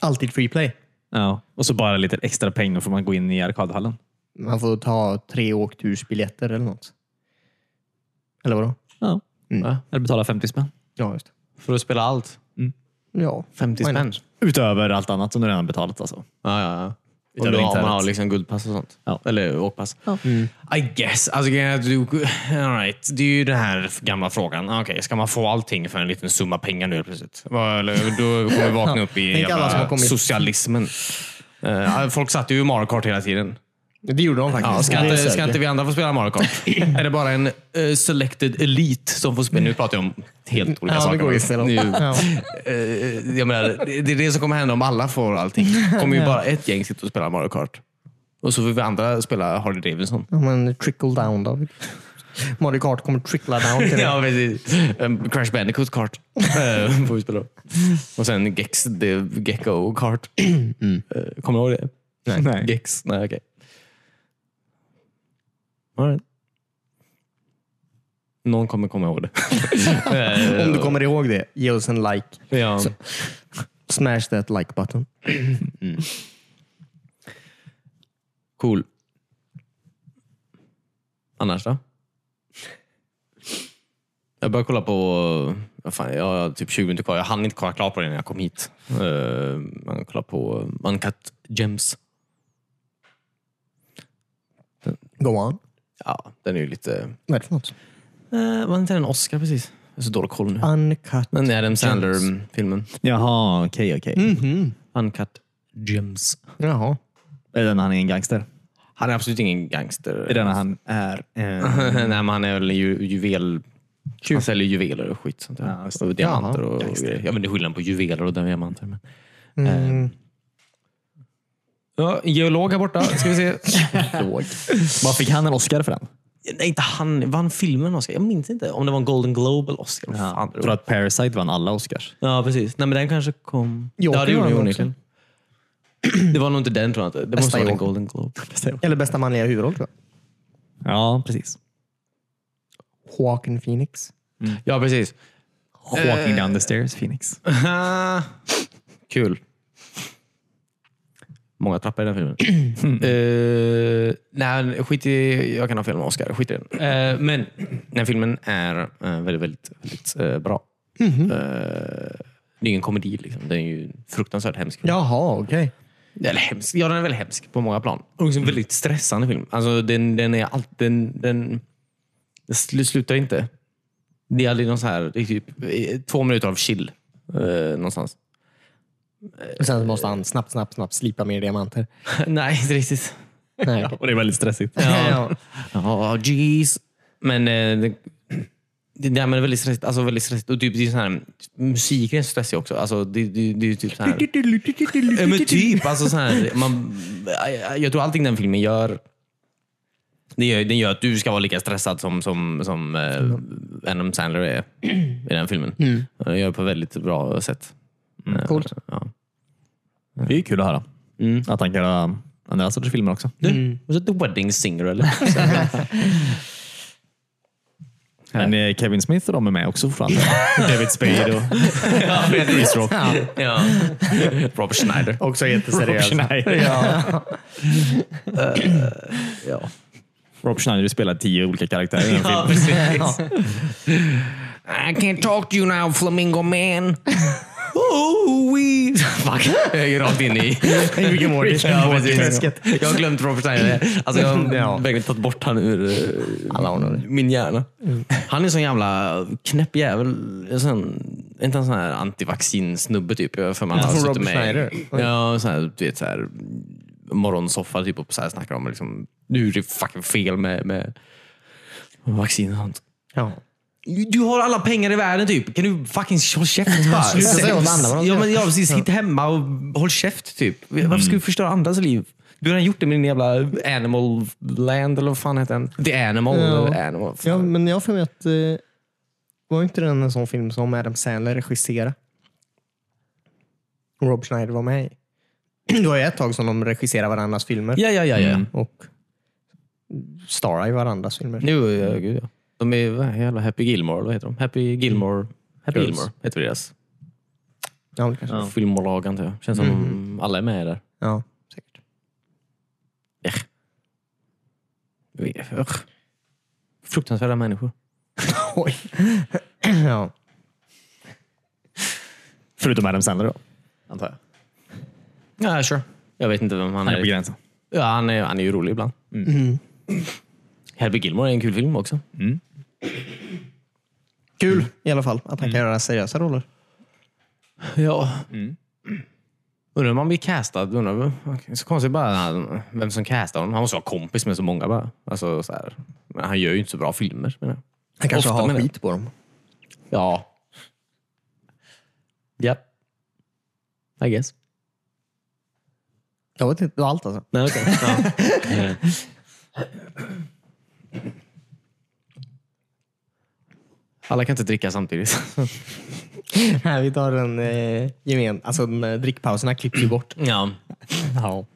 S1: Alltid free play.
S3: Ja. Och så bara lite extra pengar får man gå in i arkadhallen.
S1: Man får ta tre åktursbiljetter eller något. Eller vadå?
S3: Ja.
S2: Va?
S3: Eller betala 50 spänn.
S1: Ja, just det.
S2: För att spela allt.
S1: Ja.
S2: 50
S1: Why
S2: spänn.
S1: not?
S3: Utöver allt annat som du redan betalat alltså.
S2: Ja, ja, ja.
S3: Om
S2: Om
S3: du
S2: du
S3: inte
S2: har, man
S3: har
S2: har
S3: rätt.
S2: liksom guldpass och sånt.
S3: Ja.
S2: Eller åkpass. Mm. I guess. Alltså, grejen är att du, all right. Det är ju den här gamla frågan. Ah, Okej, ska man få allting för en liten summa pengar nu helt plötsligt? Va, Eller, då kommer vi vakna upp i
S1: Tänk alla som har
S2: jävla
S1: kommit.
S2: socialismen. Eh, folk satt ju i Mario Kart hela tiden.
S1: Det gjorde de faktiskt.
S2: Ja, ska,
S1: Det är
S2: inte,
S1: säkert.
S2: ska inte vi andra få spela Mario Kart? är det bara en eh, selected elite som får spela? Nu pratar jag om helt olika
S1: Ja,
S2: saker.
S1: det går ju istället.
S2: Nu-
S1: Ja.
S2: eh, jag menar, det det är det som kommer hända om alla får allting. kommer ju bara ett gäng sitta och spela Mario Kart. Och så får vi andra spela Harley Davidson.
S1: Ja, men trickle down David. Mario Kart kommer trickla down till dig.
S2: Ja, precis. Em, Crash Bandicoot Kart eh, får vi spela. Och sen Gex, det, Gecko Kart. Eh, Kommer du ihåg det?
S1: Nej.
S2: Gex? Nej, okej. All right. Någon kommer komma ihåg det. Ehm,
S1: Om du kommer ihåg det, ge oss en like.
S2: ja.
S1: Smash that like button.
S2: Cool. Annars då? Jag Jag började kolla på... Vad fan, jag har typ 20 minuter kvar. Jag hann inte kolla klart på det när jag kom hit. Eh, Man kollar på Uncut Gems.
S1: Go on.
S2: Ja, den är ju lite...
S1: Vad är det för något?
S2: Eh, var inte den Oscar precis? Jag har så dålig koll nu.
S1: Uncut.
S2: Den Adam
S1: Gems.
S2: Sandler-filmen.
S3: Jaha, okej, okej.
S1: Mhm.
S2: Uncut Gems.
S1: Jaha.
S3: Är det när han är en gangster?
S2: Han är absolut ingen gangster.
S3: Är det när han är... Eh,
S2: Nej, men han är väl en ju, juvel... Han säljer juveler och skit. Sånt
S3: Ja,
S2: där.
S3: just det.
S2: och diamanter
S1: Jaha,
S2: och, och grejer. Jag vet inte skillnaden på juveler och diamanter. Men...
S1: Mm.
S2: Ja, geolog här borta. Ska vi se.
S3: vad fick han en Oscar för den?
S2: Nej, inte han. Vann filmen Oscar? Jag minns inte om det var en Golden Globe eller Oscar. Ja, fan, det
S3: För
S2: var-
S3: att Parasite vann alla Oscars.
S2: ja precis. Nej, men den kanske kom...
S1: Joker
S2: ja, det
S1: var
S2: gjorde
S1: den
S2: den
S1: också.
S2: onekligen. Det var nog inte den tror jag inte. Det måste
S1: Bästa
S2: ha varit en
S1: Joker.
S2: Golden Globe.
S1: Eller bästa manliga huvudroll tror jag.
S3: Ja, precis.
S1: Joaquin Phoenix.
S2: Ja, precis.
S3: Walking down the stairs, Phoenix.
S2: Ah, Kul. Många trappor i den filmen. Eh, nej, skit i... Jag kan ha fel med Oscar. Skit i den. Eh, men den filmen är eh, väldigt, väldigt, väldigt eh, bra. Eh, det är ingen komedi. Liksom. Den är ju en fruktansvärt hemsk. film.
S1: Jaha, okej.
S2: Eller hemsk. Ja, den är väl hemsk på många plan. Och liksom en väldigt stressande film. Alltså, den, den är allt... Den, den, den sl- slutar inte. Det är aldrig någon så här... Det är typ eh, två minuter av chill. eh, någonstans.
S1: Och Sen så måste han snabbt, snabbt, snabbt slipa mer diamanter.
S2: Nej, inte riktigt.
S1: Nej, okej.
S3: Och det är väldigt stressigt.
S1: Ja.
S2: Ja, jeez. Men eh, det, det där med det är väldigt stressigt. Alltså väldigt stressigt. Och typ, det är så här, musiken är stressig också. Alltså, det, det, det är ju typ så här... Ja, men typ. Alltså så här, man, jag tror allting den filmen gör det gör, den gör att du ska vara lika stressad som, som, som eh, Adam Sandler är i den filmen. Det gör det på ett väldigt bra sätt. Eh,
S1: Coolt.
S2: Ja.
S3: Det är ju kul att höra.
S2: Mm.
S3: Att han kan göra andra sorters filmer också.
S2: Du, var det The Wedding Singer eller?
S3: Men eh, Kevin Smith och de är med också fortfarande. David Spade och Chris Rock.
S2: ja. Robert Schneider.
S1: Också
S3: Rob
S1: jätteseriös.
S3: Schneider.
S1: Ja.
S2: Ja.
S3: Rob Schneider spelar tio olika karaktärer i den filmen.
S2: precis. I can't talk to you now, flamingo man. Oh, we... Fuck, jag är rakt in i...
S1: Rick and Morty.
S2: Ja, precis.
S1: Träsket.
S2: Jag har glömt Robert Schneider. Alltså, jag har
S1: Ja.
S2: verkligen tagit bort han ur eh,
S1: Alla har nog det. Mm.
S2: min hjärna. Han är en sån jävla knäpp jävel. En sån, inte en sån här antivaccinsnubbe typ. Jag har för mig att
S1: Ja,
S2: han
S1: som
S2: har suttit
S1: Rob
S2: med i-
S1: Schneider.
S2: Ja, sån här, du vet, så här, morgonsoffa typ, och så här snackar om liksom, nu är det fucking fel med, med vaccin och sånt.
S1: Ja.
S2: Du har alla pengar i världen typ. Kan du fucking hålla käft? bara?
S1: sluta säga åt andra vad de
S2: ja,
S1: ska
S2: men, ja, precis. Sitt hemma och håll käft typ. Varför ska du förstöra andras liv? Du har redan gjort det med din jävla Animal Land eller vad fan heter den? The Animal.
S1: Ja.
S2: Eller animal.
S1: ja, men jag har för mig att eh, var inte den en sån film som Adam Sandler regisserade? Och Rob Schneider var med i. Det var ju ett tag som de regisserade varandras filmer.
S2: Ja, ja, ja. ja.
S3: Mm.
S1: Och starade i varandras filmer.
S2: Jo, ja, gud ja. De är vad är jävla Happy Gilmore, vad heter de? Happy Gilmore. Mm. Happy
S1: Girls.
S2: Gilmore heter deras
S1: Ja, det kanske.
S3: Ja.
S2: filmbolag antar jag. Känns som alla är med där.
S1: Ja, säkert.
S2: Ugh. Fruktansvärda människor.
S1: Oj. ja.
S3: Förutom Adam Sandler då. Antar jag.
S2: Ja, sure. Jag vet inte vem han
S3: Han
S2: är.
S3: är på gränsen.
S2: Ja, han är, han är ju rolig ibland. Mm. Happy Gilmore är en kul film också.
S1: Kul i alla fall att han kan göra seriösa roller.
S2: Ja. Undrar om han blir castad. Undrar, så konstigt bara han, vem som castar honom. Han måste vara kompis med så många bara. Alltså, så här. Men han gör ju inte så bra filmer. Menar jag.
S1: Han kanske
S2: Ofta
S1: har
S2: menar jag.
S1: skit på dem.
S2: Ja. Japp. I guess.
S1: Jag vet inte, det var allt alltså.
S2: Nej, okej. Ja. Alla kan inte dricka samtidigt.
S1: Här, vi tar en eh, gemen... Alltså de, eh, drickpauserna klipps ju bort.
S2: Ja.
S1: Ja.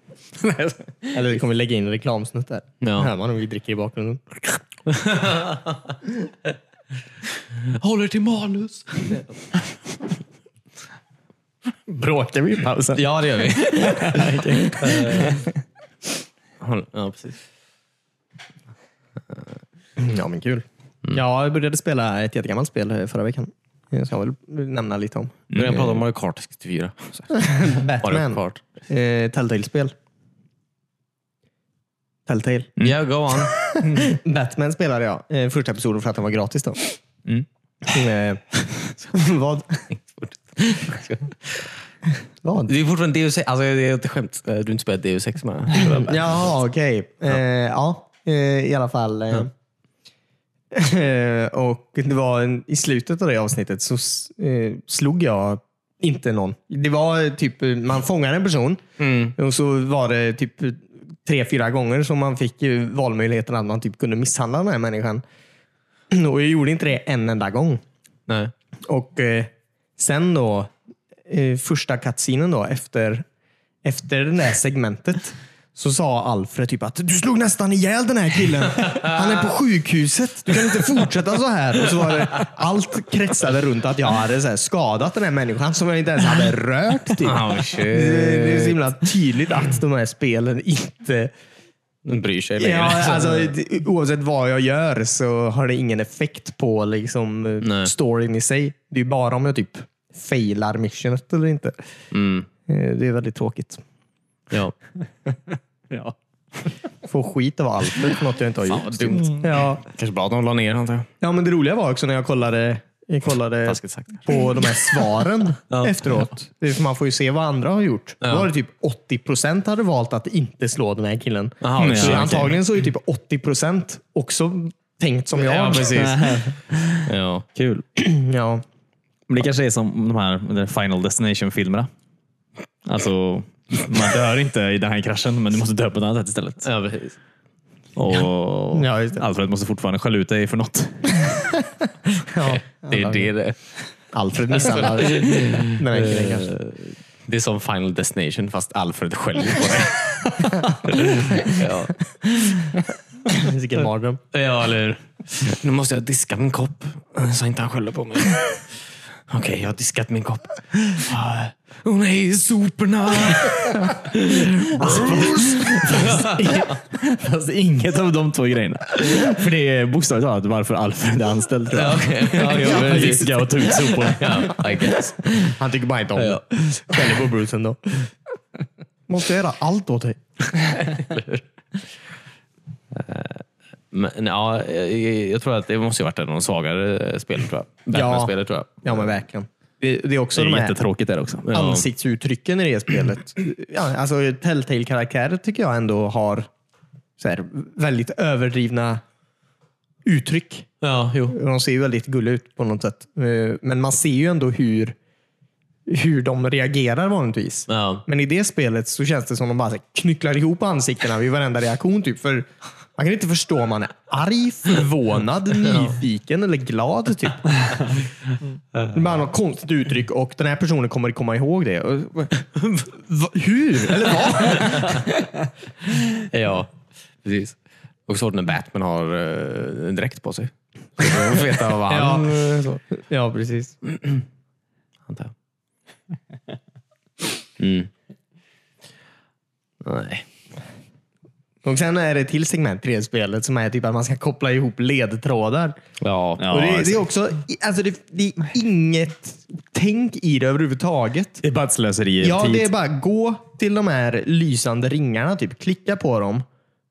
S1: Eller vi kommer lägga in en reklamsnutt där.
S2: Ja.
S1: Hör man om vi dricker i bakgrunden.
S2: Håller till manus.
S3: Bråkar vi i pausen?
S2: Ja, det gör vi. Eh, håll- ja, precis.
S1: Ja men kul. Ja, jag började spela ett jättegammalt spel eh, förra veckan. Jag ska väl nämna lite om.
S2: Nu har jag pratat om Mario Kart 64. Mario
S1: Batman.
S2: Kart.
S1: Eh, Telltale-spel. Telltale.
S2: Yeah, go on.
S1: Batman spelade jag eh, första episoden för att den var gratis då. Eh, vad? vad?
S2: Det är fortfarande Deus Ex. Alltså, det är ett skämt. Eh, Du har inte spelat Deus Ex med.
S1: Mm. Ja, okej. Eh, ja, eh, i alla fall. Eh. Eh, och det var en, I slutet av det avsnittet så s- eh, slog jag inte någon. Det var eh, typ, eh, man fångade en person och så var det typ eh, tre, fyra gånger som man fick eh, valmöjligheten att man typ kunde misshandla den här människan. Och jag gjorde inte det en enda gång.
S2: Nej.
S1: Och eh, sen då, eh, första cutscenen då, efter, efter det där segmentet, så sa Alfred typ att du slog nästan ihjäl den här killen. Han är på sjukhuset. Du kan inte fortsätta så här. Och så var det, allt kretsade runt att jag hade så här skadat den här människan som jag inte ens hade rört. Typ.
S2: Oh,
S1: Det det är så
S2: shit.
S1: himla tydligt att de här spelen inte...
S2: Den bryr sig längre.
S1: Ja, alltså, det- oavsett vad jag gör så har det ingen effekt på liksom, eh,
S2: Nej.
S1: storyn i sig. Det är bara om jag typ failar missionet eller inte.
S2: Mm.
S1: Eh, Det är väldigt tråkigt.
S2: Ja.
S3: Ja.
S1: Få skit av Alfred för något jag inte har
S2: Fan
S1: gjort. Mm.
S2: vad dumt.
S1: Ja.
S2: Kanske bra att de la ner antar jag.
S1: ja, men det roliga var också när jag kollade, jag kollade
S2: Taskigt sagt.
S1: på de här svaren
S2: Ja.
S1: efteråt. Det är för man får ju se vad andra har gjort.
S2: Ja.
S1: Då var det typ 80 procent hade valt att inte slå den här killen.
S2: Jaha,
S1: så
S2: okej.
S1: antagligen så är ju typ 80 procent också tänkt som jag.
S2: Ja, precis. Ja.
S3: Kul.
S1: Ja.
S3: Men det kanske är som de här de där Final Destination-filmerna. Alltså, man dör inte i den här kraschen, men du måste dö på ett annat sätt istället.
S2: Ja, precis.
S3: Och
S1: Ja, just det.
S3: Alfred måste fortfarande skälla ut dig för något.
S1: Ja.
S2: Det är det det är.
S1: Alfred Eh, misshandlar den här killen kanske.
S2: Det är som Final Destination fast Alfred skäller på dig. ja.
S1: Vilken mardröm.
S2: ja, eller hur? Nu måste jag diska min kopp eh, så inte han skäller på mig. Okej, jag har diskat min kopp. Ah, Åh nej, soporna!
S3: Alltså, inget av de två grejerna. För det är bokstavligt talat varför Alfred är anställd. tror jag.
S2: Okej, ja, ja,
S3: För att
S2: precis.
S3: Diska och ta ut soporna.
S2: Ja, I guess.
S1: Han tycker bara inte om
S2: Ja.
S1: det. Skäller på Bruce ändå. Måste jag göra allt åt dig?
S2: Men, ja, jag, jag tror att det måste ju varit en av de svagare eh, spelen. Tror jag.
S1: Ja.
S2: Batman-spelet tror jag.
S1: Ja, men verkligen. Det, det är
S3: Det
S1: också de
S3: är
S1: här
S3: jättetråkigt där också.
S2: Ja.
S1: ansiktsuttrycken i det spelet. Ja, alltså, Telltale-karaktärer tycker jag ändå har så här, väldigt överdrivna uttryck.
S2: Ja, jo.
S1: De ser ju väldigt gulliga ut på något sätt. Eh, Men man ser ju ändå hur, hur de reagerar vanligtvis.
S2: Ja.
S1: Men i det spelet så känns det som de bara så här knycklar ihop ansiktena vid varenda reaktion. Typ. För man kan inte förstå om man är arg, förvånad, nyfiken eller glad. Typ. Bara något konstigt uttryck och den här personen kommer komma ihåg det. Och- Va- Hur? Eller vad?
S2: ja, precis. Och så när Batman har eh, dräkt på sig. Så får man veta vad han...
S1: Ja, ja precis.
S2: antar jag. Mm. Nej.
S1: Och sen är det ett till segment i det spelet som är typ att man ska koppla ihop ledtrådar.
S2: Ja.
S3: Ja.
S1: och det, det
S3: exakt.
S1: är också, alltså det, det är inget tänk i det överhuvudtaget.
S3: Det är bara ett slöseri
S1: Ja,
S3: tid.
S1: det är bara gå till de här lysande ringarna, typ. klicka på dem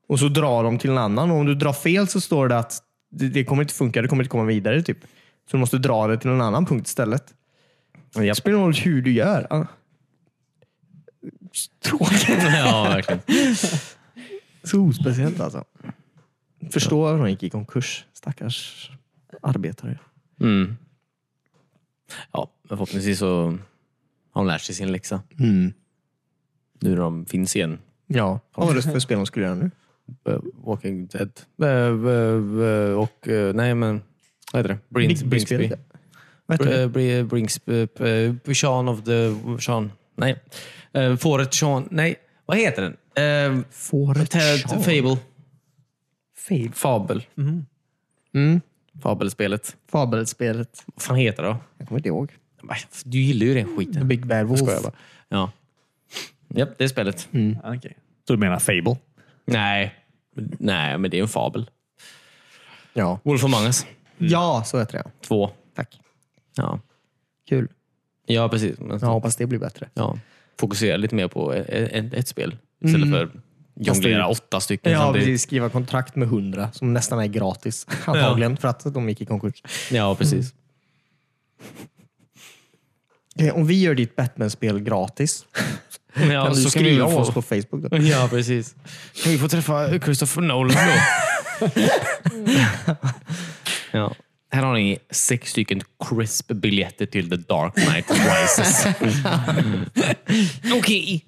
S1: och så dra dem till en annan. Och om du drar fel så står det att det, det kommer inte funka, det kommer inte komma vidare. Typ. Så du måste dra det till en annan punkt istället. Det spelar ingen roll hur du gör. Ja. Tråkigt.
S2: ja, verkligen.
S1: Så ospeciellt alltså. Förstår att de gick i konkurs. Stackars arbetare.
S2: Mm. Ja, men förhoppningsvis så har de lärt sig sin läxa. Nu när de finns igen.
S1: Ja. Vad var det för spel de skulle göra nu?
S2: Eh, Walking Dead. Eh, eh, eh, och, eh, nej men, vad heter det? Brins, Bringsby.
S1: Big-spelet. Vad heter det?
S2: Eh, Br- Bringsby. eh, Sean of the... Sean. Nej. Eh, Fåret Sean. Nej, vad heter den? Eh,
S1: Fåret
S2: Ted
S1: Sean.
S2: Fable.
S1: Fable.
S2: Fabel. Mm. Fabelspelet.
S1: Fabelspelet.
S2: Vad fan heter det då? Äh,
S1: Jag kommer inte ihåg.
S2: Du gillar ju den skiten.
S1: Big Bad Wolf.
S2: Skojar bara. Mm. Ja. Japp, det är spelet.
S3: Ah, okej. Så du menar Fable?
S2: Nej. Nej, men det är en fabel.
S1: Ja.
S2: Wolf of Mangas.
S1: Ja, så heter det.
S2: Två.
S1: Tack.
S2: Ja,
S1: Kul.
S2: ja precis. Men,
S1: Jag
S2: ja.
S1: hoppas det blir bättre.
S2: Fokusera lite mer på e- e- ett, ett spel istället för jonglera åtta stycken
S1: Ja,
S2: samtidigt.
S1: precis. Skriva kontrakt med 100 som nästan är gratis antagligen för att de gick i konkurs.
S2: Ja, precis.
S1: Okej, Eh, om vi gör ditt Batman-spel gratis,
S2: Ja,
S1: kan du
S2: Mm. så kan vi
S1: skriva om
S2: få-
S1: oss på Facebook då?
S2: Ja, precis. Kan vi få träffa Christopher Nolan då? ja. Här har ni sex stycken crisp-biljetter till The Dark Knight Rises. Mm. Okej.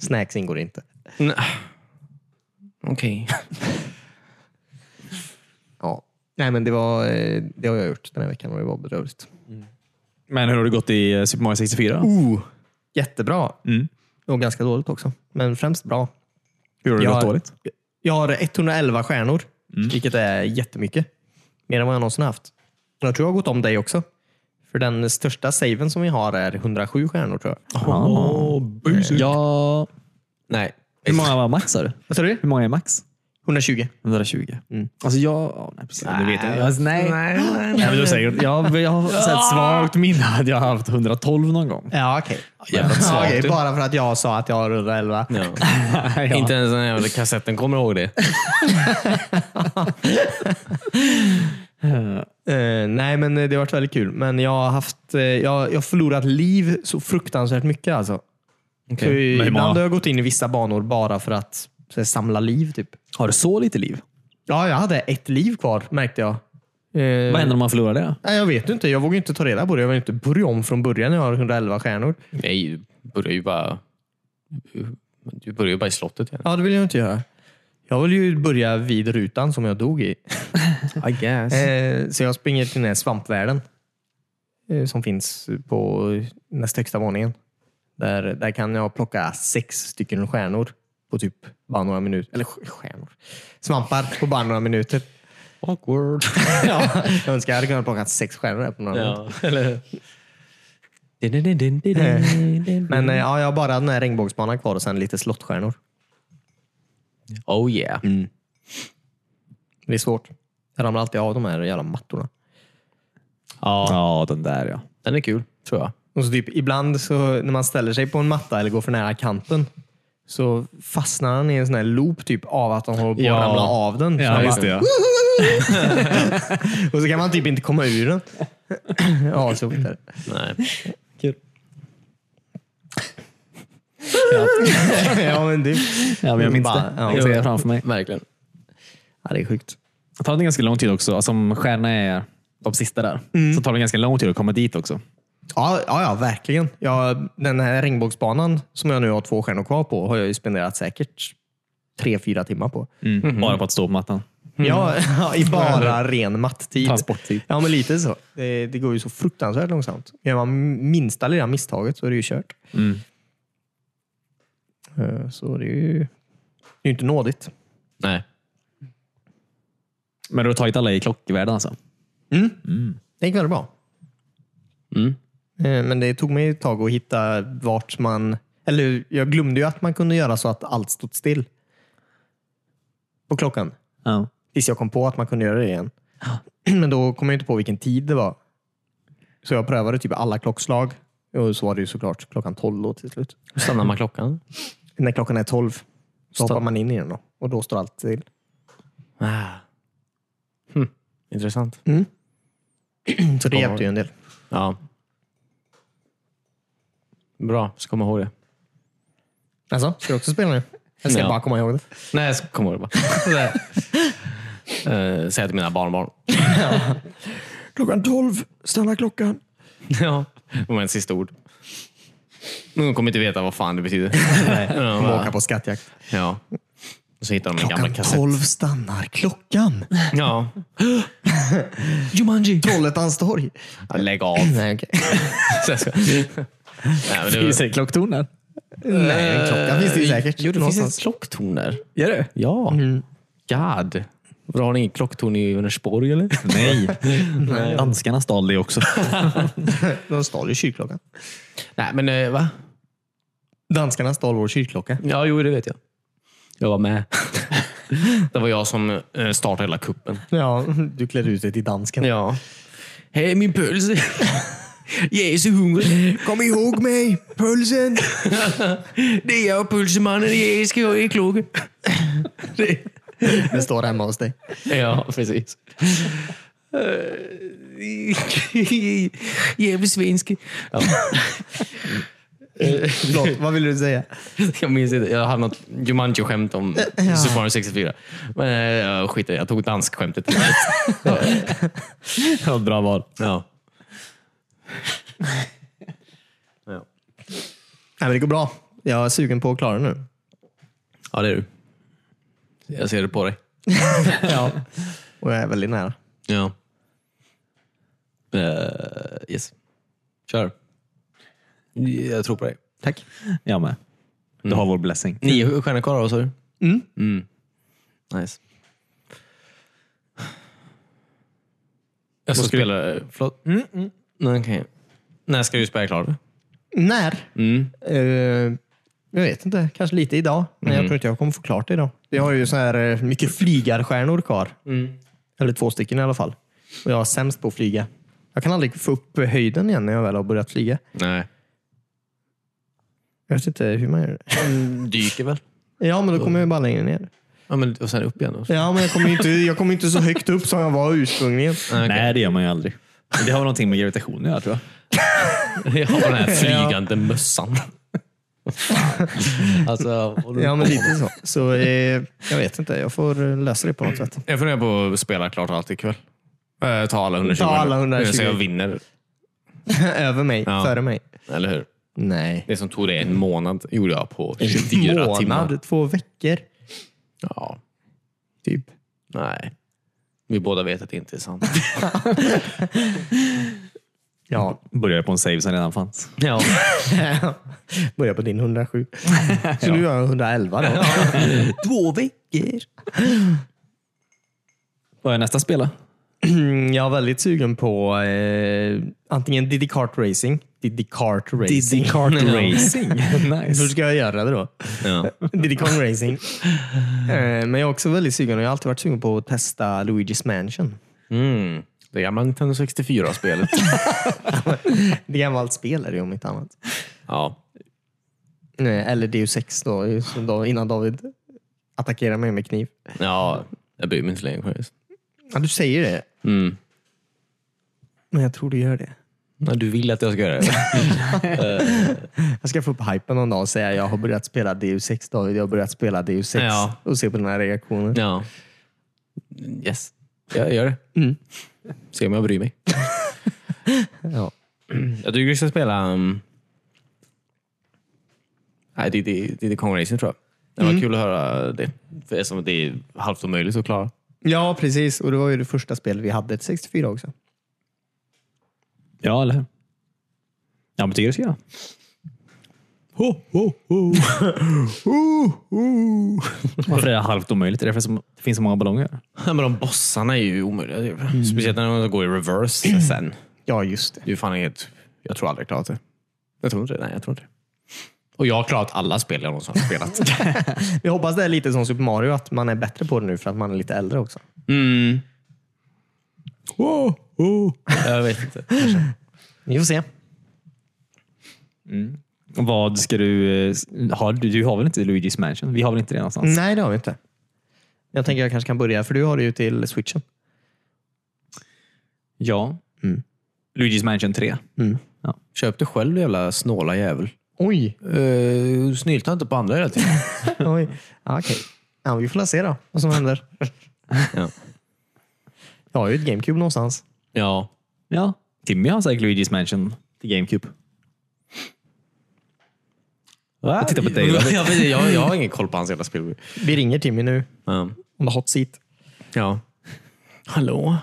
S1: Snacks ingår inte.
S2: N- Okej.
S1: Ja. Nej, men det, var, eh, det har jag gjort den här veckan och det var bedrövligt.
S3: Men hur har det gått i eh, Super Mario 64?
S1: Oh, jättebra.
S3: Mm.
S1: Och ganska dåligt också, men främst bra.
S3: Hur har det
S1: Jag-
S3: gått dåligt? Mm.
S1: Jag har 111 stjärnor, vilket är jättemycket. Mer än vad jag någonsin haft. Jag tror jag har gått om dig också. För den största saven som vi har är 107 stjärnor tror jag.
S3: Oh, ja.
S2: Nej.
S3: Hur många var max? sa du?
S1: Vad sa du?
S3: Hur många är max?
S1: 120.
S3: 120.
S1: Mm.
S3: Alltså jag... ja, nej, precis. Det vet jag inte. Alltså, nej. nej.
S2: nej.
S3: men du säger, jag, jag har så här ett svagt minne att jag har haft 112 någon gång.
S1: Ja, okej.
S2: Jävla
S1: Ja,
S2: smart
S1: okej,
S2: du.
S1: Bara för att jag sa att jag har 111.
S2: Ja.
S3: Ja.
S2: Inte ens den jävla kassetten kommer ihåg det.
S1: Eh, nej, men eh, det har varit väldigt kul. Men jag har haft, eh, jag, jag har förlorat liv så fruktansvärt mycket. Alltså. Så
S2: Okej.
S3: många?
S1: ibland har jag gått in i vissa banor bara för att så här, samla liv. Typ.
S3: Har du så lite liv?
S1: Ja, jag hade ett liv kvar märkte jag. Eh,
S3: Vad händer om man förlorar det?
S1: nej, jag vet inte. Jag vågar inte ta reda på det. Jag vill inte börja om från början när jag har 111 stjärnor.
S2: Nej, du börjar ju bara... Du börjar ju bara i slottet igen.
S1: Ja, det vill jag inte göra. Jag vill ju börja vid rutan som jag dog i.
S2: I guess.
S1: Eh, så jag springer till den här svampvärlden eh, som finns på näst högsta våningen. Där, där kan jag plocka sex stycken stjärnor på typ bara några minuter. Eller sk- stjärnor. Svampar på bara några minuter.
S2: Awkward.
S1: ja, jag önskar jag hade kunnat plocka sex stjärnor där på några minuter.
S2: Ja, eller hur?
S1: Men eh, ja, jag har bara den här regnbågsbanan kvar och sen lite slottstjärnor.
S2: Oh yeah.
S1: Det är svårt. Jag ramlar alltid av de här jävla mattorna.
S3: Ja. ja, den där ja.
S2: Den är kul, tror jag.
S1: Och så typ, ibland så, när man ställer sig på en matta eller går för nära kanten så fastnar han i en sån här loop typ av att han håller på
S2: Ja.
S1: att ramla av den. Så han bara,
S3: Ja.
S1: Och så kan man typ inte komma ur den. ja, så vidare.
S2: Nej.
S3: Kul.
S1: ja, men du.
S3: Ja, men jag minns
S1: Bara,
S3: det.
S1: ja.
S3: Jag kan se det framför mig.
S2: Verkligen.
S1: Ja, det är sjukt.
S3: Det tar det ganska lång tid också. Alltså, om stjärnorna är de sista där, så tar det ganska lång tid att komma dit också.
S1: Ja, ja, ja verkligen. Ja, den här regnbågsbanan som jag nu har två stjärnor kvar på har jag ju spenderat säkert tre, fyra timmar på.
S3: Bara på att stå på mattan.
S1: Ja, ja, i bara ren matttid.
S3: Transporttid.
S1: Ja, men lite så. Det, det går ju så fruktansvärt långsamt. Gör man minsta lilla misstaget så är det ju kört. Eh, Så det är ju, det är ju inte nådigt.
S2: Nej.
S3: Men du har tagit alla i klockvärlden alltså?
S1: Det gick väldigt bra.
S2: Mm.
S1: Eh, Men det tog mig ett tag att hitta vart man... Eller jag glömde ju att man kunde göra så att allt stod still. På klockan.
S3: Ja.
S1: Tills jag kom på att man kunde göra det igen. Men då kom jag inte på vilken tid det var. Så jag prövade typ alla klockslag. Och så var det ju såklart klockan 12 då till slut.
S2: Hur stannar man klockan?
S1: När klockan är 12 så
S2: Stopp.
S1: hoppar man in i den då. Och då står allt still.
S2: Ah. Hm. Intressant. Mm.
S1: Så det hjälpte ju en del.
S2: Ja. Bra, ska komma ihåg det.
S1: Alltså, ska du också spela nu? Jag ska
S2: Ja.
S1: bara komma ihåg det.
S2: Nej, jag ska komma ihåg det bara. Sådär. Eh, Säga till mina barnbarn.
S1: Klockan 12 stannar klockan.
S2: ja. Det var en sista ord. Men de kommer inte veta vad fan det betyder. Ja,
S1: Kommer
S2: bara-
S1: åka på skattjakt.
S2: ja. Och så hittar de en gammal
S1: Klockan
S2: kassett.
S1: 12 stannar klockan.
S2: Ja. Jumanji!
S1: Trollhättans torg.
S2: Ja, lägg av.
S1: Nej, okej.
S2: Så jag ska- Nej, men det var...
S3: det klocktorn där?
S1: Nej, klockan finns det ju säkert.
S2: Jo, det
S1: någonstans.
S2: finns ett klocktorn där.
S3: Gör det?
S2: Ja. God. Vadå, Har ni inget klocktorn i Vänersborg eller?
S3: Nej. Danskarna stal det också.
S1: De stal ju kyrkklockan.
S2: Nej, men eh, va?
S1: Danskarna stal vår kyrkklocka.
S2: Ja, jo, det vet jag. Jag var med. Det var jag som eh, startade hela kuppen.
S1: Ja, du klär ut dig till dansken.
S2: Ja. Hej, min puls. Jag är så hungrig.
S1: Kom ihåg mig, pulsen!
S2: Det är jag, pulsmannen. Jag ska jag är klok. Det-
S1: Den står hemma hos dig.
S2: Ja, precis. Eh, Jävligt svensk. Ja. Eh,
S1: Förlåt, vad vill du säga?
S2: Jag minns inte. Jag hade något Jumanji-skämt om
S1: Ja.
S2: Super Mario 64. Men eh, jag skiter i det. Jag tog dansk-skämtet.
S3: Ja, Bra val.
S2: ja.
S1: Nej, men det går bra. Jag är sugen på att klara det nu.
S2: ja, det är du. Jag ser det på dig.
S1: Ja. Och jag är väldigt nära.
S2: Ja. Eh, yes. Kör. Jag tror på dig.
S1: Tack.
S3: Jag med. Du har vår blessing.
S2: Nio stjärnor kvar vad sa du?
S1: Mm.
S2: Nice. Jag ska spela... eh, Förlåt? Mm, mm. Okay. När ska du spela klart?
S1: När?
S2: Mm.
S1: Eh, jag vet inte. Kanske lite idag. Men jag tror inte jag kommer få klart det idag. Jag har ju så här eh, mycket flygarstjärnor kvar. Eller två stycken i alla fall. Och jag är sämst på att flyga. Jag kan aldrig få upp höjden igen när jag väl har börjat flyga.
S2: Nej.
S1: Jag vet inte hur man gör det.
S2: Mm, Dyker väl?
S1: Ja, men då kommer jag ju bara längre ner.
S2: Ja, men, och sen upp igen då?
S1: Ja, men jag kommer ju inte, jag kommer inte så högt upp som jag var ursprungligen.
S3: Nej, det gör man ju aldrig. Det har väl någonting med gravitation att göra tror jag.
S2: Jag har den här flygande mössan. alltså,
S1: Ja, men lite så. Så eh, jag vet inte. Jag får eh, lösa det på något sätt.
S2: Jag funderar på att spela klart allt ikväll. Eh, ta alla 120.
S1: Ta alla 120.
S2: Så jag vinner.
S1: Över mig,
S2: Ja.
S1: före mig.
S2: Eller hur?
S1: Nej.
S2: Det som tog dig en månad gjorde jag på 24
S1: månad,
S2: timmar.
S1: två veckor.
S2: Ja,
S1: Typ.
S2: nej. Vi båda vet att det inte är sant.
S1: Ja.
S3: Började på en save som redan fanns.
S2: ja.
S1: Börja på din 107. Så nu har jag 111 då.
S2: Två veckor.
S3: Vad är nästa spel då?
S1: Jag är väldigt sugen på eh, antingen Diddy Kart Racing. Diddy Kart Racing.
S3: Kart Racing.
S1: Hur
S3: nice.
S1: ska jag göra det då?
S2: Ja.
S1: Diddy Kong Racing. Eh, Men jag är också väldigt sugen och jag har alltid varit sugen på att testa Luigi's Mansion.
S2: Mm. Det gamla Nintendo 64-spelet.
S1: Det gammalt spel är det ju om inte annat.
S2: ja.
S1: Nej, Eller Deus 6 då, som då, innan David attackerar mig med kniv.
S2: ja, jag bryr mig inte längre. faktiskt.
S1: Ja, du säger det,
S2: Mm.
S1: men jag tror du gör det.
S2: Nej, Du vill att jag ska göra det?
S1: Jag ska få upp hypen någon dag och säga jag har börjat spela Deus 6 David, jag har börjat spela Deus 6
S2: Ja.
S1: och se på den här reaktionen.
S2: ja. Yes. Jag gör det. Se om jag bryr mig.
S1: Ja.
S2: Jag tycker vi ska spela... Um... Nej, det, det, det är Kong Racing tror jag. Det var kul att höra det. För eftersom det är halvt omöjligt att klara.
S1: ja, precis. Och det var ju det första spel vi hade till 64 också.
S3: Ja, eller hur? Ja, men tycker jag det ska göra. Varför är det halvt omöjligt? Är det för att det finns så många ballonger?
S2: Men de bossarna är ju omöjliga. typ. Speciellt när de går i reverse sen.
S1: Ja, just det.
S2: Det är ju fan helt... Jag tror aldrig jag klarat det. Jag tror inte det. Nej, jag tror inte det. Och jag har klarat alla spel jag någonsin har spelat.
S1: Jag hoppas det är lite som Super Mario, att man är bättre på det nu för att man är lite äldre också.
S2: Mm. Jag vet inte.
S1: Vi får se.
S3: Vad ska du... eh, Har, du, du har väl inte Luigi's Mansion? Vi har väl inte det
S2: Mm.
S3: någonstans?
S1: Nej, det har vi inte. Jag tänker jag kanske kan börja, för du har det ju till switchen.
S3: Ja.
S2: Mm.
S3: Luigi's Mansion 3.
S2: Köp det själv jävla snåla jävel.
S1: Oj!
S2: Uh, Snylta inte på andra hela tiden.
S1: Oj. Ja, okej. Ja, vi får se då vad som händer.
S2: Ja.
S1: Jag har ju ett GameCube någonstans.
S2: ja.
S3: Ja. Timmy har säkert Luigi's Mansion till GameCube.
S2: Va?
S3: tittar på dig, David.
S2: jag, vet- jag, jag har ingen koll på hans jävla spel.
S1: Vi ringer Timmy nu
S2: Um,
S1: om det hot seat.
S2: ja. Hallå?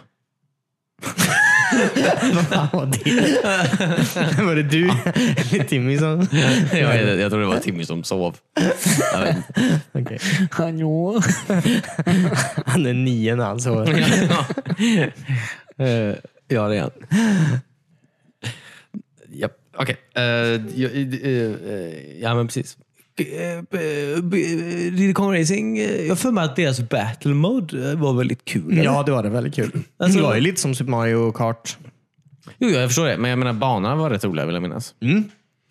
S1: Fan vad det Var det du? Det är Timmy som...
S2: jag, jag, jag tror det var Timmy som sov. Jag vet inte.
S1: Okej.
S3: Hallå?
S1: Han är alltså. nio när han sover.
S2: Eh, ja, det är han. Japp, okej. Eh, jag- eh, eh, ja, men precis.
S4: B- b- b- Diddy Kong eh, Racing, eh, jag för mig att deras battle mode eh, var väldigt kul.
S2: Mm.
S4: eller?
S1: Ja, det var det. Väldigt kul.
S4: Alltså-
S1: det var ju lite som Super Mario Kart.
S2: Jo, jag förstår det. Men jag menar, banorna var rätt roliga vill jag minnas.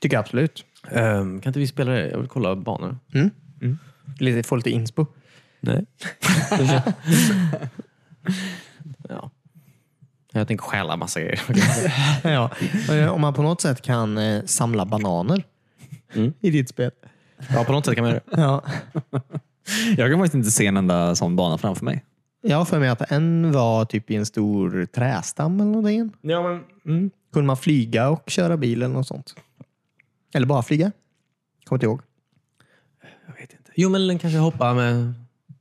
S1: Tycker jag absolut.
S2: Ehm, kan inte vi spela det? Jag vill kolla banor.
S1: Lite, få lite inspo.
S2: Nej. ja. Jag tänker stjäla massa grejer.
S1: Ja. Eh, Om man på något sätt kan eh, samla bananer i ditt spel.
S2: Ja, på något sätt kan man göra det.
S1: Ja.
S3: Jag kan faktiskt inte se en enda sån bana framför mig.
S1: Jag har för mig att en var typ i en stor trästam eller någonting.
S2: Ja, men...
S1: Kunde man flyga och köra bil eller något sånt? Eller bara flyga? Kommer inte ihåg.
S2: Jo, men den kanske hoppar med...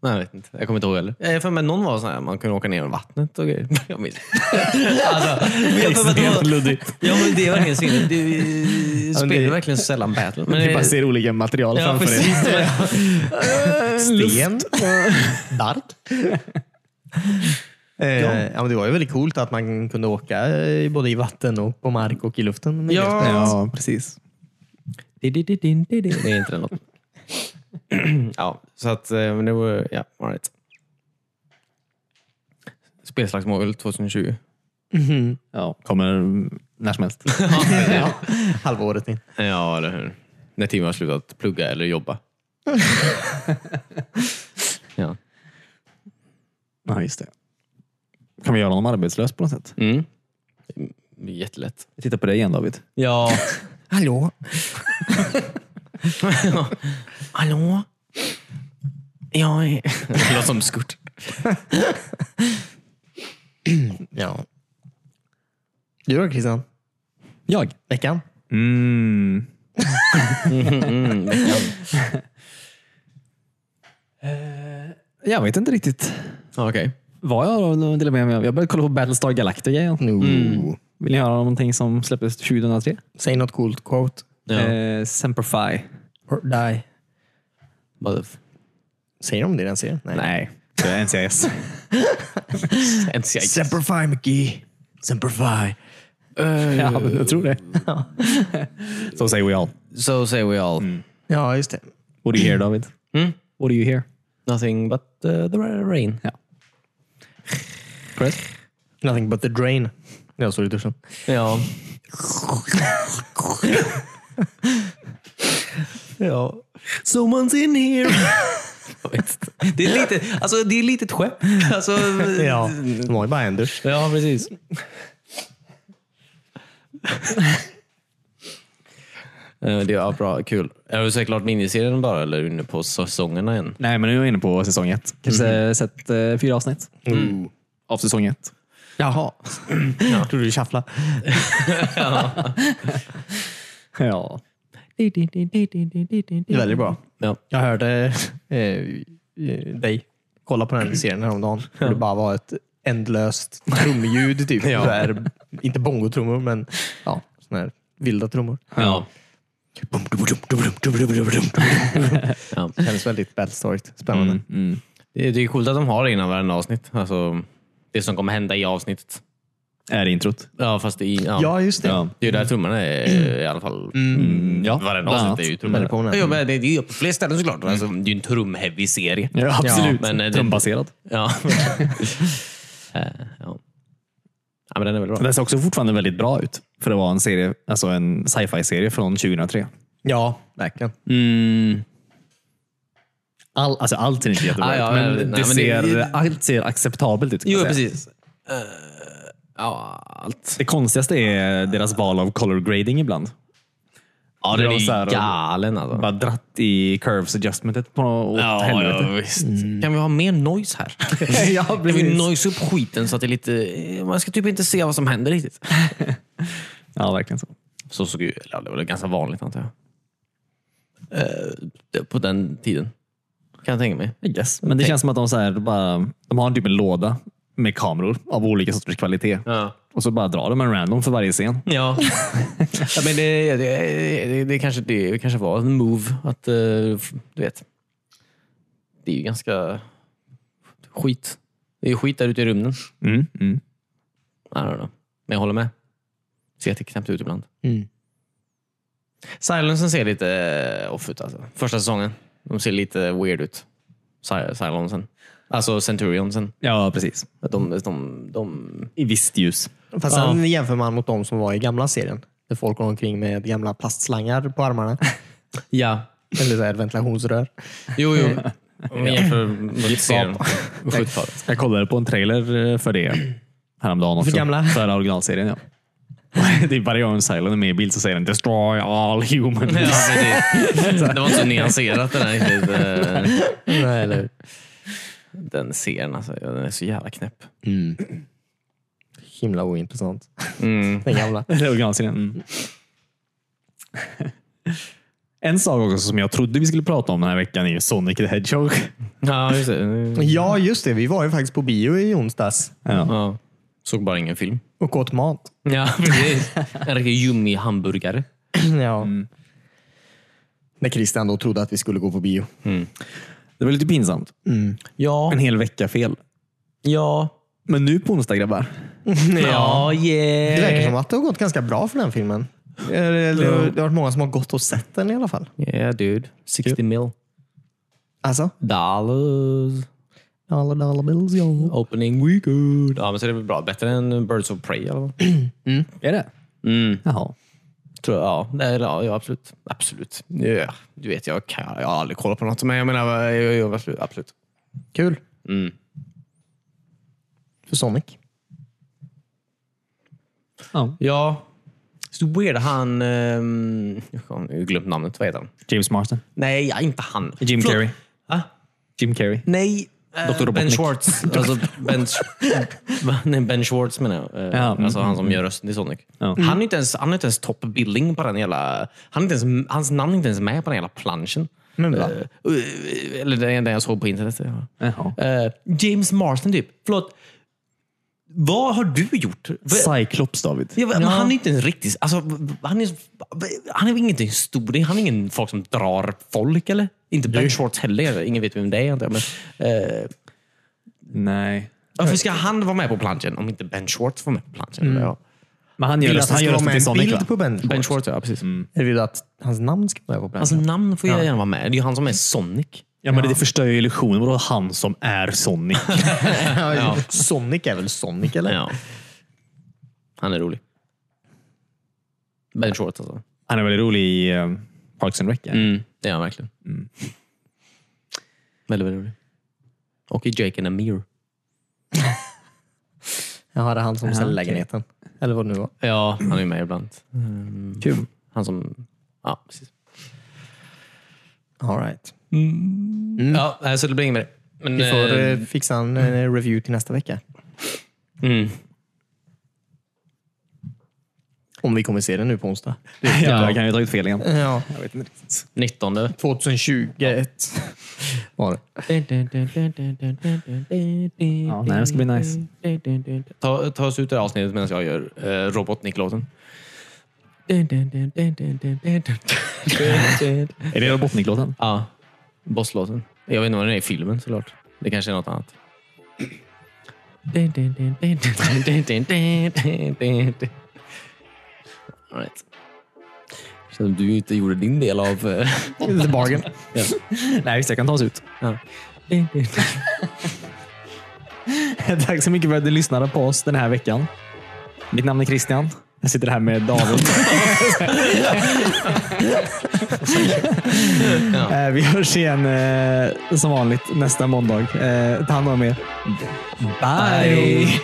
S2: Nej, jag vet inte. Jag kommer inte ihåg heller. Jag har för mig att någon var sån här, man kunde åka ner i vattnet och grejer. Jag minns alltså, men jag får mig att det var-
S3: luddigt.
S2: Ja, men det är verkligen synd. Du
S1: men det-
S2: spelar verkligen så sällan battle. Men
S1: Vi bara ser olika material
S2: ja,
S1: framför dig.
S2: precis.
S1: Sten. Dark. Eh, ja. men det var ju väldigt coolt att man kunde åka eh, både i vatten och på mark och i luften. med
S2: Ja.
S1: det spelet.
S3: Ja, precis.
S2: Det är inte det något. ja, så att eh, men det var... Ja, all right. Spelslagsmål 2020.
S3: Ja, kommer när som helst.
S1: ja. Halva året in.
S2: Ja, eller hur. När Tim har slutat plugga eller jobba. ja.
S3: Ja, just det. Kan vi göra honom arbetslös på något sätt?
S2: Mm. Jättelätt.
S3: Jag tittar på dig igen David.
S2: Ja.
S1: Hallå?
S2: Hallå? Jag
S1: eh.
S2: är... Det låter som skurt.
S1: Ja. Du då Christian?
S3: Jag?
S1: Veckan?
S3: Mm. jag vet inte riktigt
S2: Ja, Ah, Okej.
S3: vad jag delar med mig av. Jag började kolla på Battlestar Galactica igen.
S1: No.
S2: Mm.
S3: Vill ni höra om någonting som släpptes 2003?
S1: Säg något coolt quote.
S2: Ja.
S3: Eh, Semperfi.
S1: Or die.
S2: Vad-
S1: Säger de det i den serien?
S3: Nej, det är NCIS.
S2: NCIS.
S1: Semperfi McGee. Semperfi.
S2: Eh,
S3: ja, men jag tror det. so say we all.
S2: So say we all.
S1: Ja, just det.
S3: What do you hear David?
S2: Mm.
S3: What do you hear?
S2: Nothing but uh, the rain.
S3: Ja. Chris?
S1: Nothing but the drain. När jag stod i duschen.
S2: Ja.
S1: Ja.
S4: Someone's in here. det, är lite, alltså, det är lite ett skepp. Alltså,
S1: ja. Det var ju bara en dusch.
S2: ja, precis. Eh, Det är bra, kul. Är du så klart miniserien bara eller är du inne på säsongerna än?
S3: Nej, men nu är jag inne på säsong ett. Kanske sett eh, fyra avsnitt Mm. av säsong ett.
S1: Jaha. Jag trodde du tjafflade.
S3: Ja.
S1: Det är väldigt bra.
S2: Ja.
S1: Jag hörde eh, eh, dig kolla på den här serien häromdagen. Och det bara var ett ändlöst trumljud. Typ.
S2: Ja.
S1: Så här, inte bongotrummor, men ja, såna här vilda trummor.
S2: Ja. ja.
S1: Känns väldigt battlestoryt. Spännande.
S2: Det det är coolt att de har det innan varenda avsnitt. Alltså, det som kommer hända i avsnittet.
S3: Är det introt?
S2: Ja, fast i, ja.
S1: Ja, just det.
S3: Ja.
S2: Det är ju där trummorna är i alla fall.
S3: Mm, ja,
S2: Varenda
S3: bland
S2: avsnitt är ju
S3: annat.
S2: trummor.
S1: Väldigt påminner.
S2: Ja, men det det är ju på fler ställen såklart. Alltså, det är ju en trumheavy serie.
S3: Ja, absolut.
S2: Ja, men, eh, det-
S3: Trumbaserad.
S2: Ja. Eh, ja. ja, men den är väl bra.
S3: Den ser också fortfarande väldigt bra ut. För det var en serie, alltså en sci-fi-serie från 2003.
S1: Ja, verkligen.
S3: All, alltså allt ser inte jättebra
S2: Ah, ja,
S3: ut,
S2: ja,
S3: men, det
S2: nej, men
S3: ser,
S2: det-
S3: allt ser acceptabelt ut. kan
S2: Jo,
S3: man säga.
S2: precis. Eh, ja, allt.
S3: Det konstigaste är deras val av color grading ibland.
S2: Ja,
S3: det
S2: den är
S3: var så här-
S2: ju galen alltså.
S3: Bara dratt i curves adjustmentet på åt
S2: Ja, ja,
S3: helvete.
S2: visst. Mm. Kan vi ha mer noise här?
S3: Ja,
S2: kan vi
S3: precis.
S2: noise upp skiten så att det är lite... eh, Man ska typ inte se vad som händer riktigt.
S3: Ja, verkligen så.
S2: Så såg ju... Eller det var väl ganska vanligt antar jag. Eh, det- på den tiden. Kan jag tänka mig.
S3: Yes. Men det känns som att de, så här, bara, de har typ en låda med kameror av olika sorters kvalitet.
S2: Ja.
S3: Och så bara drar de en random för varje scen.
S2: Ja. ja men det, det, det, det, kanske, det kanske var en move att... eh, Du vet. Det är ju ganska skit. Det är ju skit där ute i rymden.
S3: Mm. Mm.
S1: Mm.
S2: I don't know. Men jag håller med. Ser jätteknäppt ut ibland. Silensen ser lite eh, off ut. Alltså. Första säsongen. De ser lite weird ut. Si- Silensen. Alltså Centurionsen.
S3: Ja, precis.
S2: De, de, de...
S3: I visst ljus.
S1: Fast sen jämför man mot de som var i gamla serien. Där folk går omkring med gamla plastslangar på armarna.
S2: Ja.
S1: Eller så här ventilationsrör.
S2: Jo, jo. Om vi jämför med serien. Skjutvapen.
S3: Jag kollade på en trailer eh, för det häromdagen också.
S1: För gamla?
S3: För originalserien, ja. Det är varje gång Silent är med i bild så säger den “Destroy all human”.
S2: Ja, precis. det var inte så nyanserat den här riktigt. eh,
S1: Nej, eller hur?
S2: Den serien alltså, ja, den är så jävla knäpp.
S1: Himla ointressant.
S2: Mm.
S1: Den gamla.
S3: Eller originalserien. Mm. En sak också som jag trodde vi skulle prata om den här veckan är ju Sonic the Hedgehog.
S2: Ja, just det.
S1: Ja, just det. Vi var ju faktiskt på bio i onsdags
S3: Ja.
S2: Ja. Såg bara ingen film.
S1: och åt mat.
S2: Ja, precis. En riktig ljumnig hamburgare.
S1: ja. När Christian då trodde att vi skulle gå på bio.
S3: Det var lite pinsamt.
S4: Ja,
S3: En hel vecka fel.
S4: ja,
S3: Men nu på onsdag grabbar.
S4: ja,
S1: Det
S4: yeah.
S1: verkar som att det har gått ganska bra för den filmen. Eller, Det har, det har varit många som har gått och sett den i alla fall.
S2: Yeah dude. 60 mil.
S1: Alltså?
S2: Dollars.
S1: Alla dollar bills, ja.
S2: Opening weekend. Ja, men så är det väl bra. Bättre än Birds of Prey eller vad?
S3: Är det?
S2: Mm.
S3: Jaha.
S2: Tror jag. Ja, nej, ja, ja absolut. Absolut. Ja, Du vet, jag, kan, jag har aldrig kollat på något, men jag menar, jag, jag, jag, absolut. absolut.
S1: Kul.
S2: Mm.
S1: För Sonic.
S3: Ja.
S2: Ja. Så weird, han... ehm, jag har ju glömt namnet. Vad heter han?
S3: James Marsden.
S2: Nej, ja, inte han.
S3: Jim
S2: Förlåt.
S3: Carrey.
S2: Va?
S3: Jim Carrey.
S2: Nej.
S3: Dr.
S2: eh, ben
S3: Robotnik.
S2: Schwartz. Alltså ben, Sch- Va? nej, ben Schwartz menar jag. Eh,
S3: Ja,
S2: alltså
S3: mm,
S2: han som gör rösten till Sonic.
S3: Ja.
S2: Han är inte ens, han är inte ens top billing på den hela... Han är inte ens, hans namn är inte ens med på den hela planschen.
S1: Men
S3: Mm.
S1: va?
S2: Eh, eller den, den jag såg på internet. Ja.
S3: Jaha.
S2: Eh, James Marsden typ. Förlåt. Vad har du gjort? Vad-
S3: Cyclops David.
S2: Ja, men Han är inte en riktig... Alltså, han, är, han är inget stor. Han är ingen folk som drar folk, eller? Inte Ben Schwartz heller. Ingen vet vem det är. antar jag, Men, eh,
S3: Nej.
S2: varför ska han vara med på planschen om inte Ben Schwartz var med på planschen? Eller ja.
S3: Men han gör,
S1: Vill att
S3: röst,
S1: han
S3: han
S1: ska
S3: gör
S1: vara
S3: rösten
S1: med en
S3: till Sonic
S1: bild
S3: va?
S1: på Ben
S2: Ben
S1: Schwartz. Mm.
S2: Schwartz, ja. Precis.
S1: Eller vill du att hans namn ska vara med på plats?
S2: Alltså, namn får jag gärna vara med. Det är ju han som är Sonic.
S3: Ja, men det förstör ju illusionen. Vadå han som är Sonic?
S1: Ja. Sonic är väl Sonic eller?
S2: Ja. Han är rolig. Ben Schwartz alltså.
S3: han är väldigt rolig i eh, Parks and Rec. ja.
S2: Det är han verkligen. Väldigt, väldigt rolig. Och i Jake and Amir.
S1: Jaha, det är han som säljer
S3: okej.
S1: lägenheten. Eller vad det nu var.
S2: Ja, han är med ibland. Mm.
S3: Kul.
S2: Han som... Ja, precis.
S1: All right.
S2: Ja, nej, så det blir inget mer. Men,
S1: Vi får
S2: Mm. eh,
S1: eh, fixa en eh, review till nästa vecka.
S2: mm.
S1: Om vi kommer se den nu på onsdag.
S3: Ja. Jag kan ju ha tagit fel igen.
S1: Ja.
S2: 19.
S1: 2021 var det.
S3: Ja, nej, det ska bli nice.
S2: Ta, ta oss ut ur avsnittet medan jag gör eh, Robotnik-låten.
S3: Är det Robotnik-låten?
S2: Ja, bosslåten. Jag vet inte vad den är i filmen såklart. Det kanske är något annat. All right. Så du inte gjorde din del av... eh,
S1: The bargain.
S3: Nej, visst. Jag kan ta oss ut.
S2: Ja.
S3: Tack så mycket för att du lyssnade på oss den här veckan. Mitt namn är Christian. Jag sitter här med David. Eh, Vi hörs igen eh, som vanligt nästa måndag. Eh, Ta hand om er. Bye.